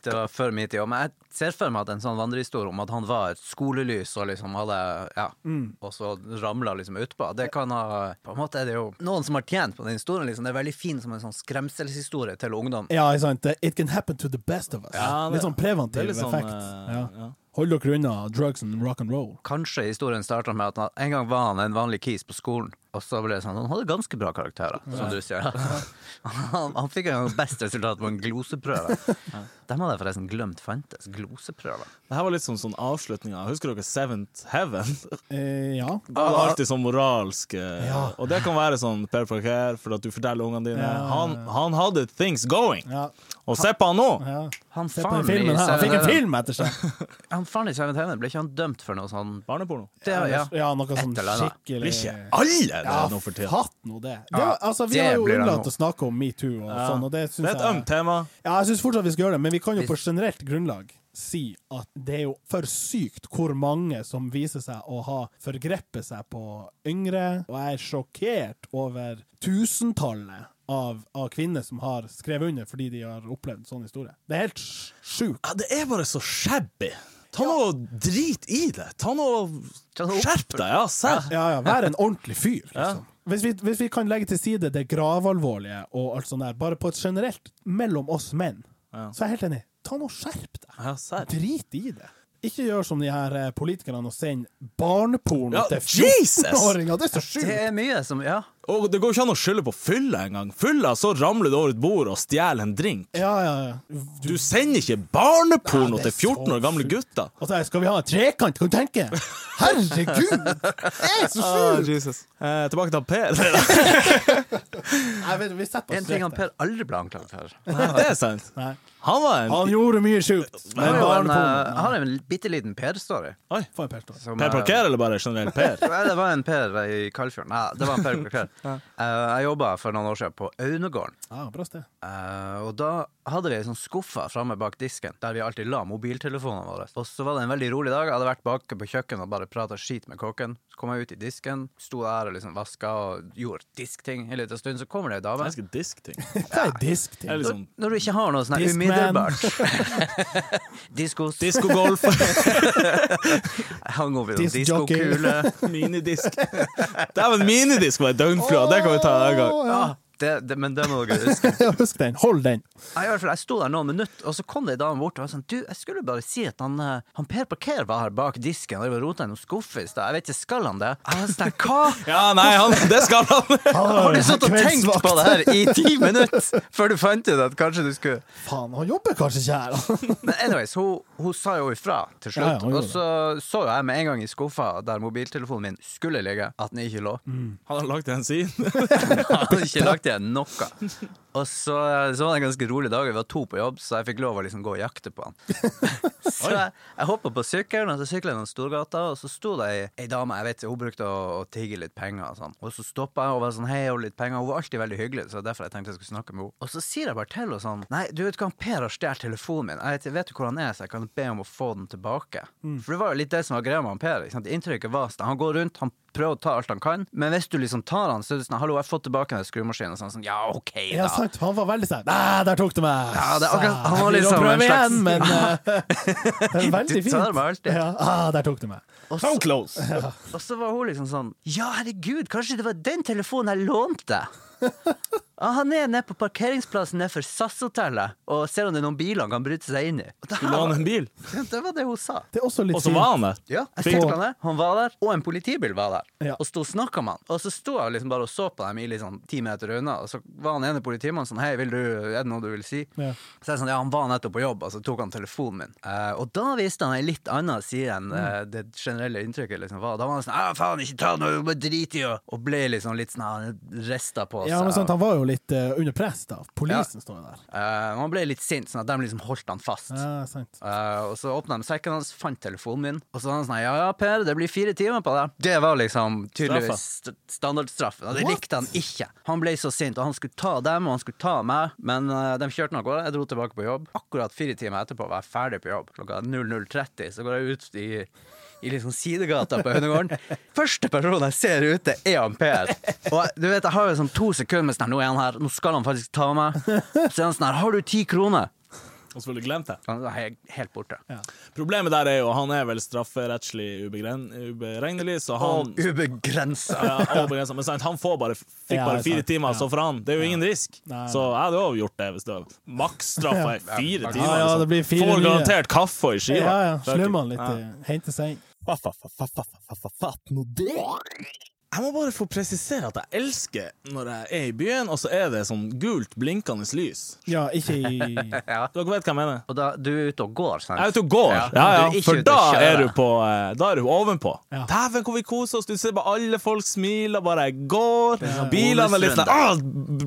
Det var før min tid. også, Men jeg ser for meg at en sånn vandrehistorie om at han var et skolelys og liksom hadde Ja,
Mm.
og så ramla liksom utpå. Det kan ha På en måte er det jo noen som har tjent på den historien, liksom. Det er veldig fin som en sånn skremselshistorie til ungdom.
Ja, ikke sant? It can happen to the best of us.
Ja, det-
litt sånn
det er
preventiv
litt sånn,
effekt.
eh,
ja.
ja.
Hold dere unna drugs and rock and roll.
Kanskje historien starta med at han, en gang var han en vanlig kis på skolen, og så ble det sånn Han hadde ganske bra karakterer, som du sier. Han, han fikk jo best resultat på en gloseprøve. Dem hadde jeg forresten glemt fantes. Gloseprøver.
Det her var litt sånn, sånn avslutninga. Husker dere Seventh Heaven?
Eh, ja.
Ah.
Det er alltid sånn moralsk eh,
Ja.
Og det kan være sånn Per Parker, for at du forteller ungene dine.
Ja.
Han, han hadde things going,
ja.
og se på han nå!
ja.
Han
Se på
faren
den
i
filmen her. Han fikk en
Seven-
film etter seg!
Han faren i Seven Heaven, ble ikke han dømt for noe sånn
Barneporno.
det, ja.
Ja, noe sånn
Et eller annet.
skikkelig
Blir ikke alle det nå for
Ja,
tida?
fatt nå det. det var, altså, vi
det
har jo
blir det
unnlatt
nå.
å snakke om metoo og sånn, og det
Det
syns
er et
jeg
ømt tema.
Ja, jeg syns fortsatt vi skal gjøre det, men vi kan jo på
Hvis-
generelt grunnlag si at det er jo for sykt hvor mange som viser seg å ha forgrepet seg på yngre, og jeg er sjokkert over tusentallet av, av kvinner som har skrevet under fordi de har opplevd en sånn historie. Det er helt sj- sjukt.
Ja, det er bare så shabby. Ta nå og drit i det. Ta nå
Ta
og
nå opp.
Skjerp deg, ja, serr.
Ja, ja, vær en ordentlig fyr,
Ja.
liksom. Hvis vi, hvis vi kan legge til side det gravalvorlige og alt sånt der, bare på et generelt mellom oss menn,
Ja.
så er jeg helt enig. Ta nå og skjerp deg.
Ja, serr.
Drit i det. Ikke gjør som de her eh, politikerne og send barneporno
Ja,
til
Jesus!
14-åringer! Det er så
det
sjukt!
er mye som Ja.
Og det går ikke an å skylde på fylla engang. Fylla, så ramler du over et bord og stjeler en drink.
Ja, ja, ja.
Du sender ikke barneporno
Nei, det
til
er
14
så
år gamle
sjukt.
gutter.
Og så her, Altså, skal vi ha en trekant, kan du tenke? Herregud! Det er så sjukt!
Eh, tilbake til Per.
Nei, vet du, vi setter oss
En ting han
strek
Per
der.
aldri ble anklaget for.
det er sant.
Nei.
Han var en
Han gjorde mye sjukt,
Han
men
har jo en,
barneporno
eh, han har en bitte liten Per-story.
Oi.
Få en pels, da.
som,
Per
eh,
Parker, eller bare generelt Per?
Nei, det var en Per i Kalfjorden. Nei, det var en Per Parker. Eh, jeg jobba for noen år siden på Aunegården.
Ja, bra sted.
Eh, og da hadde vi ei sånn skuffe framme bak disken der vi alltid la mobiltelefonene våre. Og så var det en veldig rolig dag. Jeg hadde vært bak på kjøkkenet og bare prata skit med kokken. Så kom jeg ut i disken, sto der og liksom vaska og gjorde diskting en liten stund. Så kommer det ei dame.
Ganske diskting.
Hva er disk til?
Eller sånn
Når du ikke har noe sånn her
Discman.
umiddelbart Diskos.
diskogolf,
Hang over noen
Discjockey.
diskokule.
minidisk. Dæven, minidisk var en døgnflue, det kan vi ta en gang.
Ja, Ah, det, det, men det må dere huske.
Ja, Husk den. Hold den.
Jeg, i hvert fall, jeg sto der noen minutter, og så kom det en dame bort og var sånn Du, jeg skulle bare si at han, eh, han Per Parker var her bak disken og rota i noen skuffer i stad. Jeg vet ikke, skal han det? Jeg var sånn der, Hva?
Ja, nei, han, det skal han.
Har du satt og tenkt på det her i ti minutter før du fant ut at kanskje du skulle
Faen, han jobber kanskje ikke her. altså. da.
Men anyways, hun, hun sa jo ifra til
Ja, ja,
slutt.
hun gjorde
og så så jo jeg med en gang i skuffa der mobiltelefonen min skulle ligge, at den ikke lå.
Han har lagd en sin.
Jeg hadde ikke lagt igjen noe. Og så, så var det en ganske rolig dag, vi var to på jobb, så jeg fikk lov å liksom gå og jakte på han. Så jeg, jeg hoppa på sykkelen, og så sykla jeg gjennom Storgata, og så sto det ei, ei dame, jeg vet hun brukte å, å tigge litt penger og sånn, og så stoppa jeg og var sånn hei, jeg har litt penger, hun var alltid veldig hyggelig, så det er derfor jeg tenkte jeg skulle snakke med henne. Og så sier jeg bare til henne sånn, nei, du vet hva, han Per har stjålet telefonen min, jeg vet, vet jo hvor han er, så jeg kan be om å få den tilbake.
Mm.
For det var jo litt det som var greia med han Per, ikke sant? inntrykket var sånn, han går rundt, han prøver å ta alt han kan, men hvis du liksom tar han, så er det sånn, hallo, jeg har fått tilbake den skrumaskinen, og sånn, sånn, ja, ok, da.
Ja, sant. Han var veldig sånn Nei, der tok du meg!
Ja, det er akkurat- han var
Jeg vil
liksom
prøve
en slags-
igjen, men eh, det er veldig
Du
fint.
tar meg alltid.
Ja, ah, der tok du meg.
Og så-
So close.
Og så var hun liksom sånn Ja, herregud, kanskje det var den telefonen jeg lånte? Ja, han er nede på parkeringsplassen nede for SAS-hotellet og ser om det er noen biler han kan bryte seg inn i. Og det, her
Skulle han en bil?
var- det var det hun sa.
Det er også litt
Og så var han der.
Ja, jeg
Fikk-
stilte han der, han var der, og en politibil var der.
Ja.
Og sto og snakka med han. Og så sto jeg liksom bare og så på dem i liksom ti meter unna, og så var han ene politimannen sånn Hei, vil du, er det noe du vil si?
Ja.
Så jeg sånn, ja, han var nettopp på jobb, og så tok han telefonen min. Eh, og da viste han ei litt anna side enn eh,
Mm.
det generelle inntrykket liksom var. Da var han sånn Ja, faen, ikke ta noe, bare drit i det! Og ble liksom litt sånn rista på. på
Ja,
seg.
men sant, Han var jo litt eh, under press, da. Polisen står jo der.
Eh, man ble litt sint, sånn at de liksom holdt han fast.
Ja, sant.
Eh, og så åpna de sekken hans, fant telefonen min, og så sa han sånn Ja ja, Per, det blir fire timer på deg. Det var liksom tydeligvis st standardstraffen, og det
What?
likte han ikke. Han ble så sint, og han skulle ta dem, og han skulle ta meg, men eh, de kjørte han av gårde. Jeg dro tilbake på jobb. Akkurat fire timer etterpå var jeg ferdig på jobb. Klokka 00.30 så går jeg ut i i liksom sidegata på Hønegården. Første person jeg ser ute, er han Per. Og jeg- du vet, jeg har jo sånn to sekunder med sånn her, nå er han her, nå skal han faktisk ta meg. Så er han sånn her, har du ti kroner?
Og selvfølgelig glemt det.
Han er helt borte.
Problemet der er jo han er vel strafferettslig ubegren- uberegnelig, så han
Og ubegrensa.
ja, overbegrenset. Men sant, han får bare, fikk
Ja,
bare fire
sant.
timer, så for han. Det er jo ingen risk.
Nei, nei.
Så jeg hadde òg gjort det. hvis det var Maksstraffa er fire
Ja,
timer.
ja,
liksom.
det blir fire
får
nye.
garantert kaffe og i skiva.
Ja, ja.
Fuck it.
Slummer han litt.
Ja.
eh, Hente seg inn.
Jeg må bare få presisere at jeg elsker når jeg er i byen, og så er det sånn gult blinkende lys.
Ja, ikke i
Dere vet hva jeg mener?
Og da, du er ute og går, sant?
Jeg er ute og går,
Ja.
ja, ja,
Du er ikke
for
ute
da
og kjører.
er du på eh, Da er du ovenpå.
Ja.
Dæven, hvor vi koser oss! Du ser bare alle folk smiler, bare jeg går. Bilene er litt sånn
bonusrunde.
ah,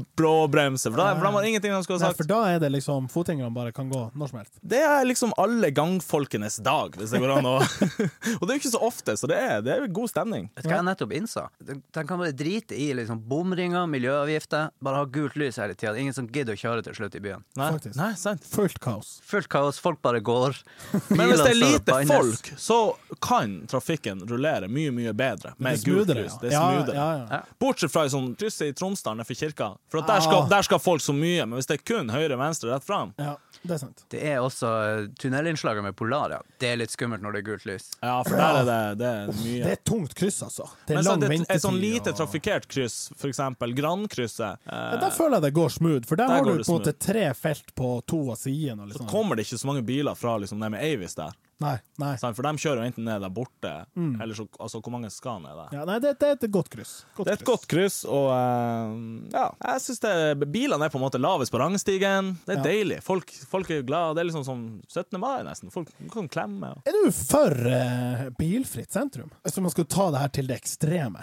b- Bråbremse. For da for de har ingenting de skulle
Nei,
ha
for
sagt.
da er det liksom Fotgjengerne bare kan gå når som helst.
Det er liksom alle gangfolkenes dag, hvis det går an å Og det er jo ikke så ofte, så det er, det er jo god stemning.
Vet du hva jeg nettopp innså? De, de kan bare drite i liksom, bomringer, miljøavgifter, bare ha gult lys hele tida. Ingen som gidder å kjøre til slutt i byen.
Nei,
Faktisk.
nei sant.
Fullt kaos.
Fullt kaos, folk bare går.
Men hvis det er
Bilene står og
lite
bannes.
folk, så kan trafikken rullere mye, mye bedre med
det er
gult
smoothere,
lys.
ja.
Det er
Ja,
smoothere.
ja, ja.
Ja.
Bortsett fra i sånn krysset i Tromsdalen for kirka, for at der, skal,
Ah.
der skal folk så mye. Men hvis det er kun høyre, venstre, rett fram
Ja, det er sant.
Det er også eh, tunnelinnslaget med Polar, ja. Det er litt skummelt når det er gult lys.
Ja, for der er det, det er mye.
Det er et tungt kryss, altså. Det er
Men sånn,
lang
det er et
ventetid.
sånn lite
og-
trafikkert kryss, for eksempel Grandkrysset,
Ja,
eh,
der føler jeg det går smooth, for der,
Der
har
går
du
det
på en måte
smooth.
tre felt på to av sidene. og litt
så
sånn.
kommer det ikke så mange biler fra liksom, dem med Avis der.
Nei, nei.
Sant? For de kjører jo enten ned der borte, eller så altså, Hvor mange skal ned der?
Mm. Ja, nei det, det er et godt kryss.
Det er et godt kryss, og eh, ja, jeg synes det Bilene er på en måte lavest på rangstigen. Det er
Ja.
deilig. Folk, folk er jo glad. Det er liksom som 17. mai, nesten. Folk kan klemme.
Er du for eh, bilfritt sentrum? Altså, man skal ta det her til det ekstreme.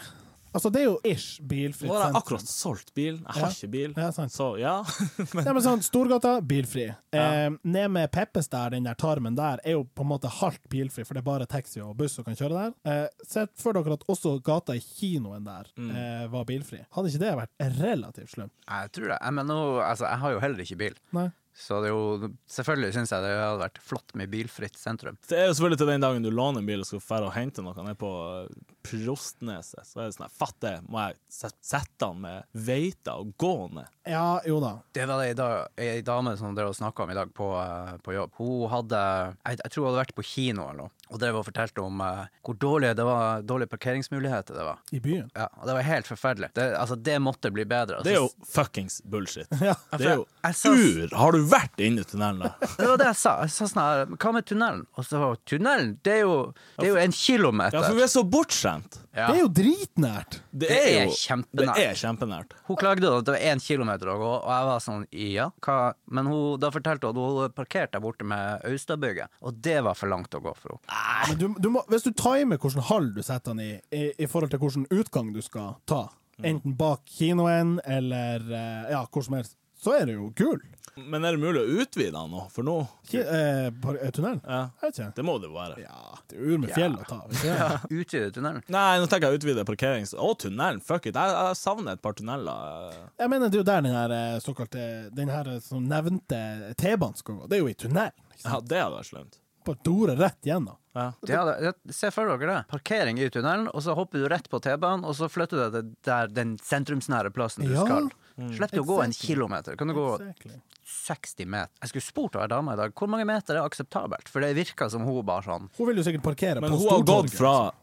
Altså, det er jo ish bilfritt
Nå har jeg
sentrum.
akkurat solgt bil. Jeg har
Ja.
ikke bil.
Ja, sant.
Så ja.
Nei, men sånn, Storgata, bilfri. Eh, ned med Peppes der, den der tarmen der, er jo på en måte halvt bilfri, for det er bare taxi og buss som kan kjøre der. Eh, Sett for dere at også gata i kinoen der
Mm.
eh, var bilfri. Hadde ikke det vært relativt slemt?
Jeg tror det. Jeg, men nå, altså, jeg har jo heller ikke bil.
Nei.
Så det er jo, selvfølgelig syns jeg det hadde vært flott med bilfritt sentrum.
Det er jo selvfølgelig til den dagen du låner en bil og skal fære og hente noe ned på eh, Prostneset. Så er det sånn her, Fatt det, må jeg set- sette han med veita og gå ned?
Ja, jo da.
Det var ei da- ei dame som dere snakka om i dag på, eh, på jobb. Hun hadde jeg, jeg tror hun hadde vært på kino eller noe, og drev og fortalte om eh, hvor dårlige det var, dårlige parkeringsmuligheter det var.
I byen.
Ja, og Det var helt forferdelig. Det, altså, det måtte bli bedre.
Det er jo fuckings bullshit.
Ja.
Det er jo
Jeg sa-
ur! Har du vært inne i tunnelen? der?
Altså, Det var det jeg sa. Jeg sa sånn her, Hva med tunnelen? Og så var hun, tunnelen, det er jo, det er jo en
Ja, for
kilometer.
vi er så bortskjemt.
Ja.
Det er jo dritnært!
Det
Det
er
er
jo
kjempenært.
Det er kjempenært.
Hun klagde da at det var én kilometer å gå, og jeg var sånn ja, hva Men hun, da fortalte hun at hun parkerte der borte med Austadbygget, og det var for langt å gå for henne.
Men du, du må, hvis du timer hvilken hall du setter den i, i, i forhold til hvilken utgang du skal ta,
Mm.
enten bak kinoen eller eh, ja, hvor som helst, så er det jo gull.
Men er det mulig å utvide den nå? For nå
Ki, eh, par- eh, tunnelen?
ja,
Jeg vet ikke.
Det må det jo være.
Ja, det er ur med fjell å ta. Ikke? det?
Utvide tunnelen.
Nei, nå tenker jeg utvide parkerings... Å, tunnelen! Fuck it! Jeg, jeg savner et par tunneler.
Jeg mener det er jo der den her eh, såkalte Den her eh, som nevnte T-banen skal gå. Det er jo i tunnelen. ikke sant?
Ja, det hadde vært slemt.
Bare dore rett gjennom.
Ja.
Det hadde- det- se for dere det. Parkering i tunnelen, og så hopper du rett på T-banen, og så flytter du deg til der den sentrumsnære plassen du
Ja. Mm.
skal. Slipp du å gå en
Exactly.
kilometer. Kan du gå
Exactly.
60 meter? Jeg skulle spurt ei dame i dag hvor mange meter er akseptabelt, for det virka som hun bare sånn
Hun vil jo sikkert parkere
Men
på
hun har gått
Stortorget.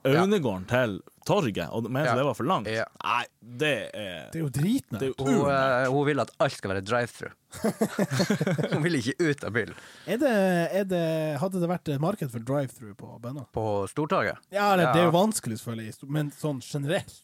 fra Aunegården til torget, og mente
Ja.
det var for langt.
Ja.
Nei, det er
Det er jo dritnært.
Det er jo
Hun,
ur.
eh, hun vil at alt skal være drive-through. hun vil ikke ut av bilen.
Er det, er det, hadde det vært et marked for drive-through på bønner?
På Stortorget.
Ja, eller,
Ja.
det er jo vanskelig, selvfølgelig, men sånn generelt.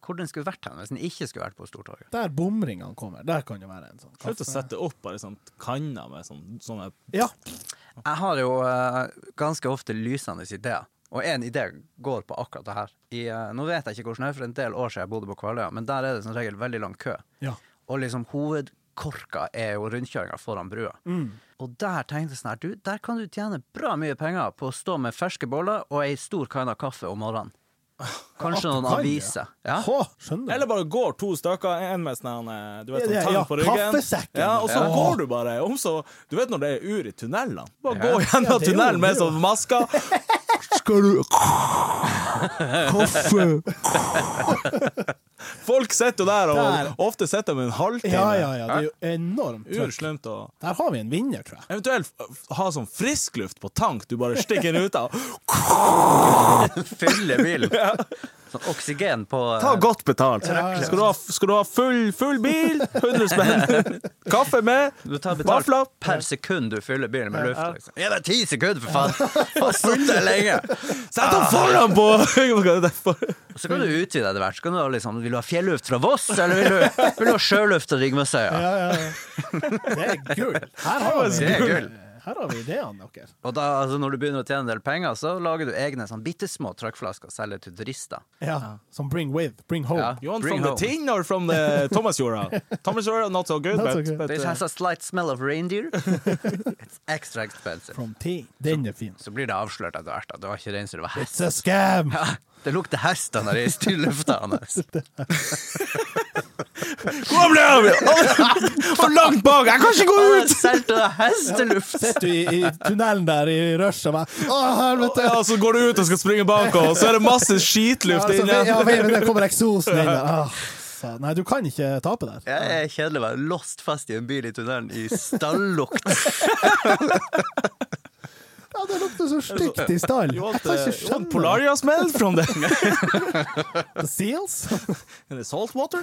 Hvor den skulle vært hen hvis den ikke skulle vært på Stortorget?
Der bomringene kommer, der kan det være en sånn.
Slutt å sette opp bare sånn kanner med sånn, sånne
Ja,
Jeg har jo eh, ganske ofte lysende ideer. Og én idé går på akkurat det her. I, eh, nå vet jeg ikke hvordan det er, for en del år siden jeg bodde på Kvaløya, men der er det som regel veldig lang kø.
Ja.
Og liksom hovedkorka er jo rundkjøringa foran brua.
Mm.
Og der tenkte jeg sånn her, du, der kan du tjene bra mye penger på å stå med ferske boller og ei stor kanne kaffe om morgenen. Kanskje
At du
noen
kan det?
aviser. Ja.
Hå, skjønner
Eller
du?
bare går to stykker, en med sånn her, du vet, sånn
Ja,
tang
ja,
på ryggen.
kaffesekken.
Ja, og så
Ja.
går du bare. Om så, du vet når det er ur i tunnelene? Bare
Ja.
gå
Ja,
gjennom
det er jo-
tunnelen med
det er jo-
sånn maske. Skal du Kaffe. Folk sitter jo der, og
Der.
ofte sitter de en halvtime.
Ja, ja, ja. Det er jo enormt trøkk.
Urslemt og
Der har vi en vinner, tror jeg.
Eventuelt f- ha sånn friskluft på tank du bare stikker den ut av.
Fylle bilen. Sånn oksygen på eh,
Ta godt betalt.
ja, ja.
Skal du ha, skal du ha full, full bil, 100 spenn. Kaffe med,
Du tar betalt
vafler.
per sekund du fyller bilen med luft. Liksom. Ja, det er ti sekunder, for faen! Har sittet her lenge!
Sett
Ah.
deg foran på Hva er det for?
Så kan du utvide etter hvert. Så kan du ha liksom, vil du ha fjelluft fra Voss, eller vil du, vil du ha sjøluft fra Rigmøsøya?
Ja, ja, ja. Det er gull. Her har vi,
Det er gull.
Her har vi ideene deres.
Og da, altså, når du begynner å tjene en del penger, så lager du egne sånn bitte små trøkkflasker og selger til turister.
Ja. Som Bring With, Bring Home.
Ja.
You want
Bring
from the
home.
tin or from the Thomas Jora? Thomas Jora, not so good,
Not so
but,
good.
but
This
uh,
has a sånn, slight smell of reindeer. It's extra expensive.
From tea. Den er fin.
Så blir det avslørt etter hvert at det var ikke reinsdyr, det var hest.
It's a scam!
Det lukter hest når det er styr lufta hans.
Hvor ble jeg av? For langt bak! Jeg kan ikke gå ut!
Solgte det hesteluft?
Sitter du i, i tunnelen der i rushet og bare Å, helvete!
Ja, så går du ut og skal springe bak, og så er det masse
Ja,
skitluft
så,
inni.
ja, men det kommer eksosen inn der. Ah, sa- nei, du kan ikke tape der.
Jeg er kjedelig å være lost fast i en bil i tunnelen i stallukt.
Ja, det lukter så stygt i stallen.
You
Jeg
want,
kan
uh,
ikke
you want
skjønne
Polaria smell from the
det. Seals?
In the salt water?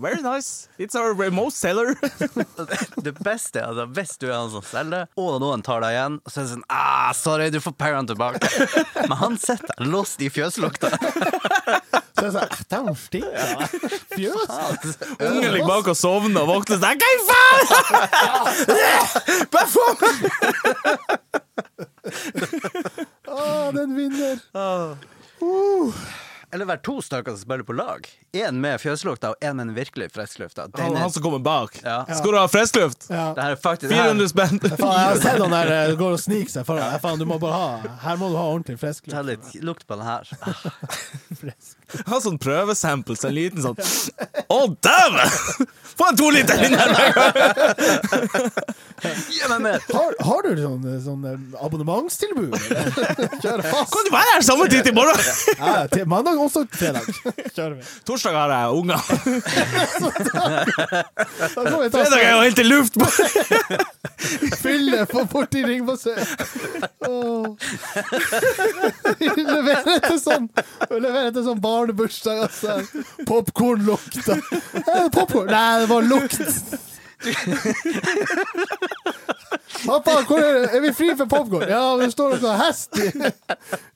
Very nice. It's our remote seller.
Det beste er altså, hvis du er han som selger, og noen tar deg igjen, og så er det sånn ah, 'Sorry, du får pengene tilbake'. Men han sitter lost i fjøslukta.
Så jeg sa «Ah, den stinker. Fjøs?
Ungen ligger bak og sovner og våkner sånn Hva i faen?! Bare få meg!
Å, den vinner.
Eller være to stykker som spiller på lag. Én med fjøslukta, og én med den virkelig frisklufta. Den
Han,
er,
han som kommer bak.
Ja.
Skal du ha frisk luft?
Ja.
det her er faktisk det her
400 spenn.
Faen, jeg har sett han der eh, går og sniker seg foran. Ja, Faen, du må bare ha Her må du ha ordentlig frisk
Ta
luft.
litt lukt på den her. Ah,
Frisk.
Ha sånn prøvesample, så en liten sånn Å, dæven! Få en toliter inn her!
Gi meg mer!
Har, har du sånn, sånn eh, abonnementstilbud? eller? Kjør fast.
Kan du være her samme tid i morgen?
Ja, til mandag, også fredag. Kjører vi.
Torsdag har jeg unger.
Da får vi ta
Fredag er jo helt i luft!
Fylle for borti ringbassøret. Levere til sånn Levere til sånn barnebursdag, altså. Popkornlukta. Popkorn Nei, det var lukt. Pappa, hvor er, det? er vi fri for popkorn? Ja, det står noe hest i,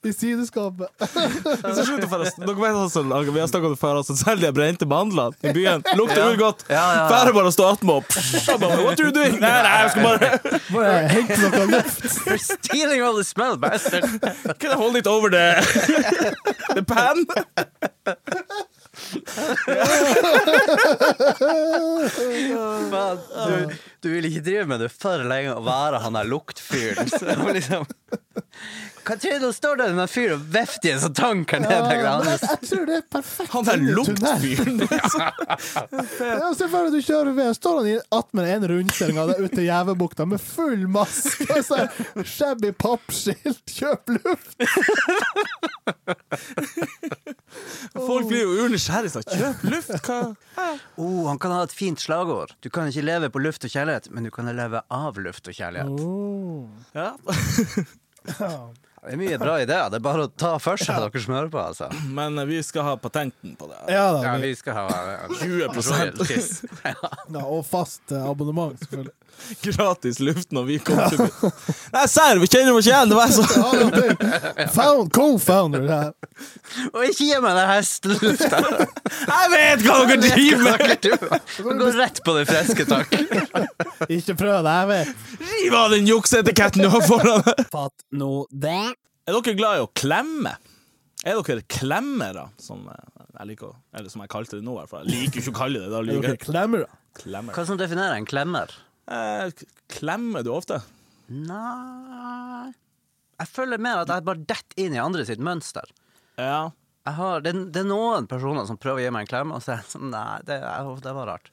i sideskapet.
Så slutt å fære- Dere vet han som lager- Vi har snakket om det før, han som selger de brente mandlene i byen. Lukter urgodt.
Ja, ja, ja.
Fære bare å stå attmed og Jeg bare, What are you doing? Nei, nei, jeg skal bare
Bare hente noe luft.
You're stealing all the smell, bastard!
Can I hold it over the, the pan?
Faen, du, du vil ikke drive med det for lenge å være han der luktfyren. Så det var liksom Hva tror du nå står der den fyren og vifter i en sånn tank her
Ja,
nede?
men
Ja,
jeg, jeg tror det er perfekt.
Han der
inn i tunnelen.
luktfyren.
Ja, Se for deg du kjører ved, står han i attmed en rundkjøring av deg ute i Gjævebukta med full maske og så her, shabby pappskilt, kjøp luft!
Folk blir jo urnysgjerrige. sånn, Kjøp luft! Hva?
oh, han kan ha et fint slagord. Du kan ikke leve på luft og kjærlighet, men du kan leve av luft og kjærlighet.
Ja.
Det er mye bra ideer. Det er bare å ta for seg, dere som hører på, altså.
Men eh, vi skal ha patenten på det.
Ja
Ja,
da,
vi skal ha royalties.
ja, og fast eh, abonnement, selvfølgelig.
Gratis luft når vi kommer til byen. Nei, serr, vi kjenner oss ikke igjen! Det var så
Ja, ja, det- Found, Co-founder det her.
Og ikke gi meg den hestelufta!
Jeg vet hva dere driver med!
Gå rett på det friske, takk.
Ikke prøv deg, jeg vet.
Riv av den jukseetiketten du har foran deg!
Fatt nå det.
Er dere glad i å klemme? Er dere klemmere, som eh, jeg liker å Eller som jeg kalte det nå, i hvert fall. Jeg liker jo ikke å kalle det det. da
Er
liker
dere
jeg
klemmer, da?
Klemmer.
Hva som definerer en klemmer?
Eh, k- Klemmer du ofte?
Nei Jeg føler mer at jeg bare detter inn i andre sitt mønster.
Ja.
Jeg har, det, det er noen personer som prøver å gi meg en klem, og så er jeg sånn Nei, det, jeg- det var rart.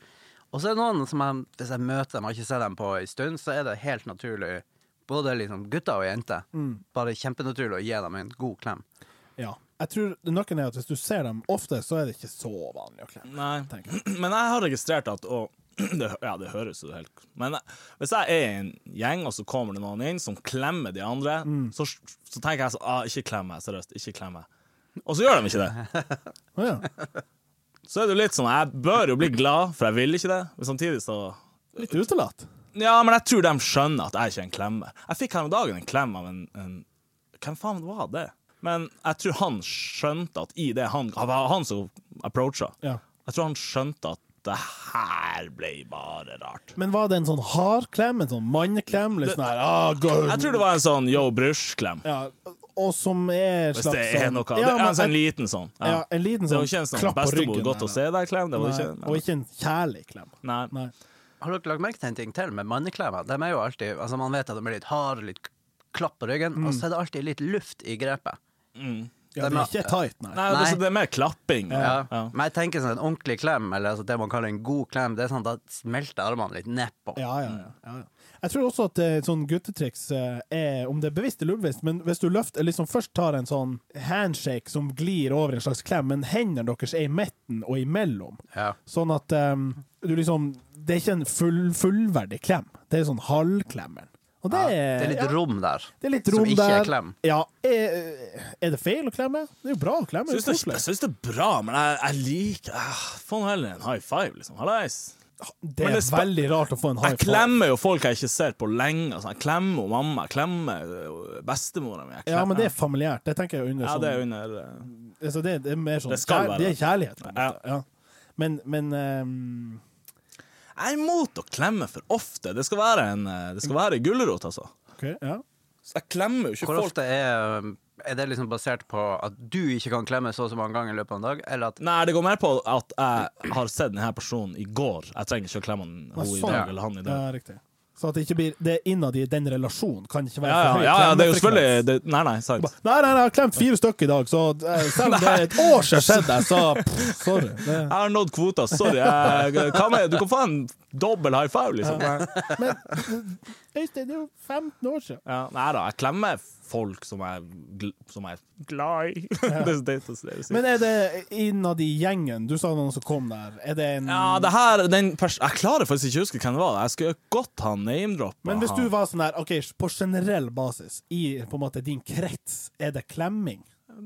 Og så er det noen som jeg, hvis jeg møter dem, har ikke sett dem på en stund, så er det helt naturlig, både liksom gutter og jenter, bare kjempenaturlig å gi dem en god klem.
Ja. Jeg tror Nøkkelen er at hvis du ser dem ofte, så er det ikke så vanlig å klemme.
Nei.
tenker
Men jeg har registrert at og, det, hø- Ja, det høres jo helt Men jeg- hvis jeg er i en gjeng, og så kommer det noen inn som klemmer de andre, så, så tenker jeg sånn ah, Ikke klem meg, seriøst. Ikke klem meg. Og så gjør de ikke det.
Å ja.
Så er det jo litt sånn Jeg bør jo bli glad, for jeg vil ikke det. Men samtidig så
Litt utelatt.
Ja, men jeg tror de skjønner at jeg ikke er en klemmer. Jeg fikk her om dagen en klem av en, en Hvem faen var det? Men jeg tror han skjønte at i det han Det var han som approacha.
Ja.
Jeg tror han skjønte at det her ble bare rart.
Men var det en sånn hard klem? En sånn manneklem? Litt sånn her ah, gud.
Jeg tror det var en sånn yo brush-klem.
ja, Og som er
Hvis det er
sånn-
noe.
Ja,
det er
men
altså en
jeg-
liten sånn. Ja.
ja, en liten
det
sånn
var ikke en sånn
klapp på
bestemor
ryggen
godt
der,
å se deg-klem. Det var
Nei,
ikke,
og ikke en kjærlig klem.
Nei.
Nei.
Har dere lagt merke til en ting til med manneklemmer? De er jo alltid, altså Man vet at de er litt harde, litt k- klapp på ryggen, og så er det alltid litt luft i grepet.
Ja, det
Dem
er
er-
ikke tight, nei.
Nei,
Nei.
altså, Det er mer klapping.
Ja.
Ja.
Men jeg tenker sånn en ordentlig klem, eller altså det man kaller en god klem, det er sånn da smelter armene litt nedpå.
Ja, ja, ja, ja, ja. Jeg tror også at eh, et sånn guttetriks eh, er, om det er bevisst eller ubevisst, men hvis du løfter, liksom først tar en sånn handshake som glir over en slags klem, men hendene deres er i midten og imellom,
Ja.
sånn at eh, du liksom Det er ikke en full, fullverdig klem, det er sånn halvklemmen. Og det,
Ja,
er,
det er litt
ja,
rom der.
det er litt
som
rom
ikke
der.
er klem.
Ja, er, er det feil å klemme? Det er jo bra å klemme. det er
Jeg syns det,
koselig.
jeg synes det er bra, men jeg, jeg liker ah, Få nå heller en high five, liksom. Hallais.
Det
Men
er
det spa-
veldig rart å få en high
Jeg
five.
klemmer jo folk jeg ikke ser på lenge. Altså. Jeg klemmer jo mamma, jeg klemmer øh, bestemora mi. jeg
Ja,
klemmer-
men det er familiært. Det tenker jeg er under
ja,
sånn
det er under øh,
Altså, det, det er mer sånn
Det skal
kjær-
være
det er
det.
kjærlighet, på en måte. Ja. Men, men ehm,
Jeg er imot å klemme for ofte. Det skal være en øh, Det skal være en gulrot, altså.
OK, ja.
Så jeg klemmer jo ikke
Hvor
folk.
ofte er, er det liksom basert på at du ikke kan klemme så og så mange ganger i løpet av en dag, eller at
Nei, det går mer på at jeg har sett denne personen i går. Jeg trenger ikke å klemme han-
Nei,
hun i
sånn,
dag
ja.
eller han i
ja
dag.
riktig. Så at det ikke blir Det er innad i den relasjonen, kan ikke
Ja,
være
ja,
for høy
ja, ja det er jo
klemmefrekvens.
selvfølgelig det, Nei, nei, sant.
Nei, nei, nei, jeg har klemt fire stykker i dag, så eh, selv om det er et år siden skjedde, så pff, sorry. Det,
Jeg har nådd kvota, sorry. Jeg, hva med, du kan få en dobbel high five, liksom.
men eh, Øystein, det er jo 15 år siden.
Ja, nei da, jeg klemmer folk som er, gl som er glad i. det, det, det, det, det.
Men er det innad i gjengen? Du sa noen som kom der. Er det en
ja, det her den pers Jeg klarer faktisk ikke å huske hvem det var. Jeg skulle godt ha name-droppa
Men hvis
han.
du var sånn her, OK, på generell basis, i på en måte din krets, er det klemming?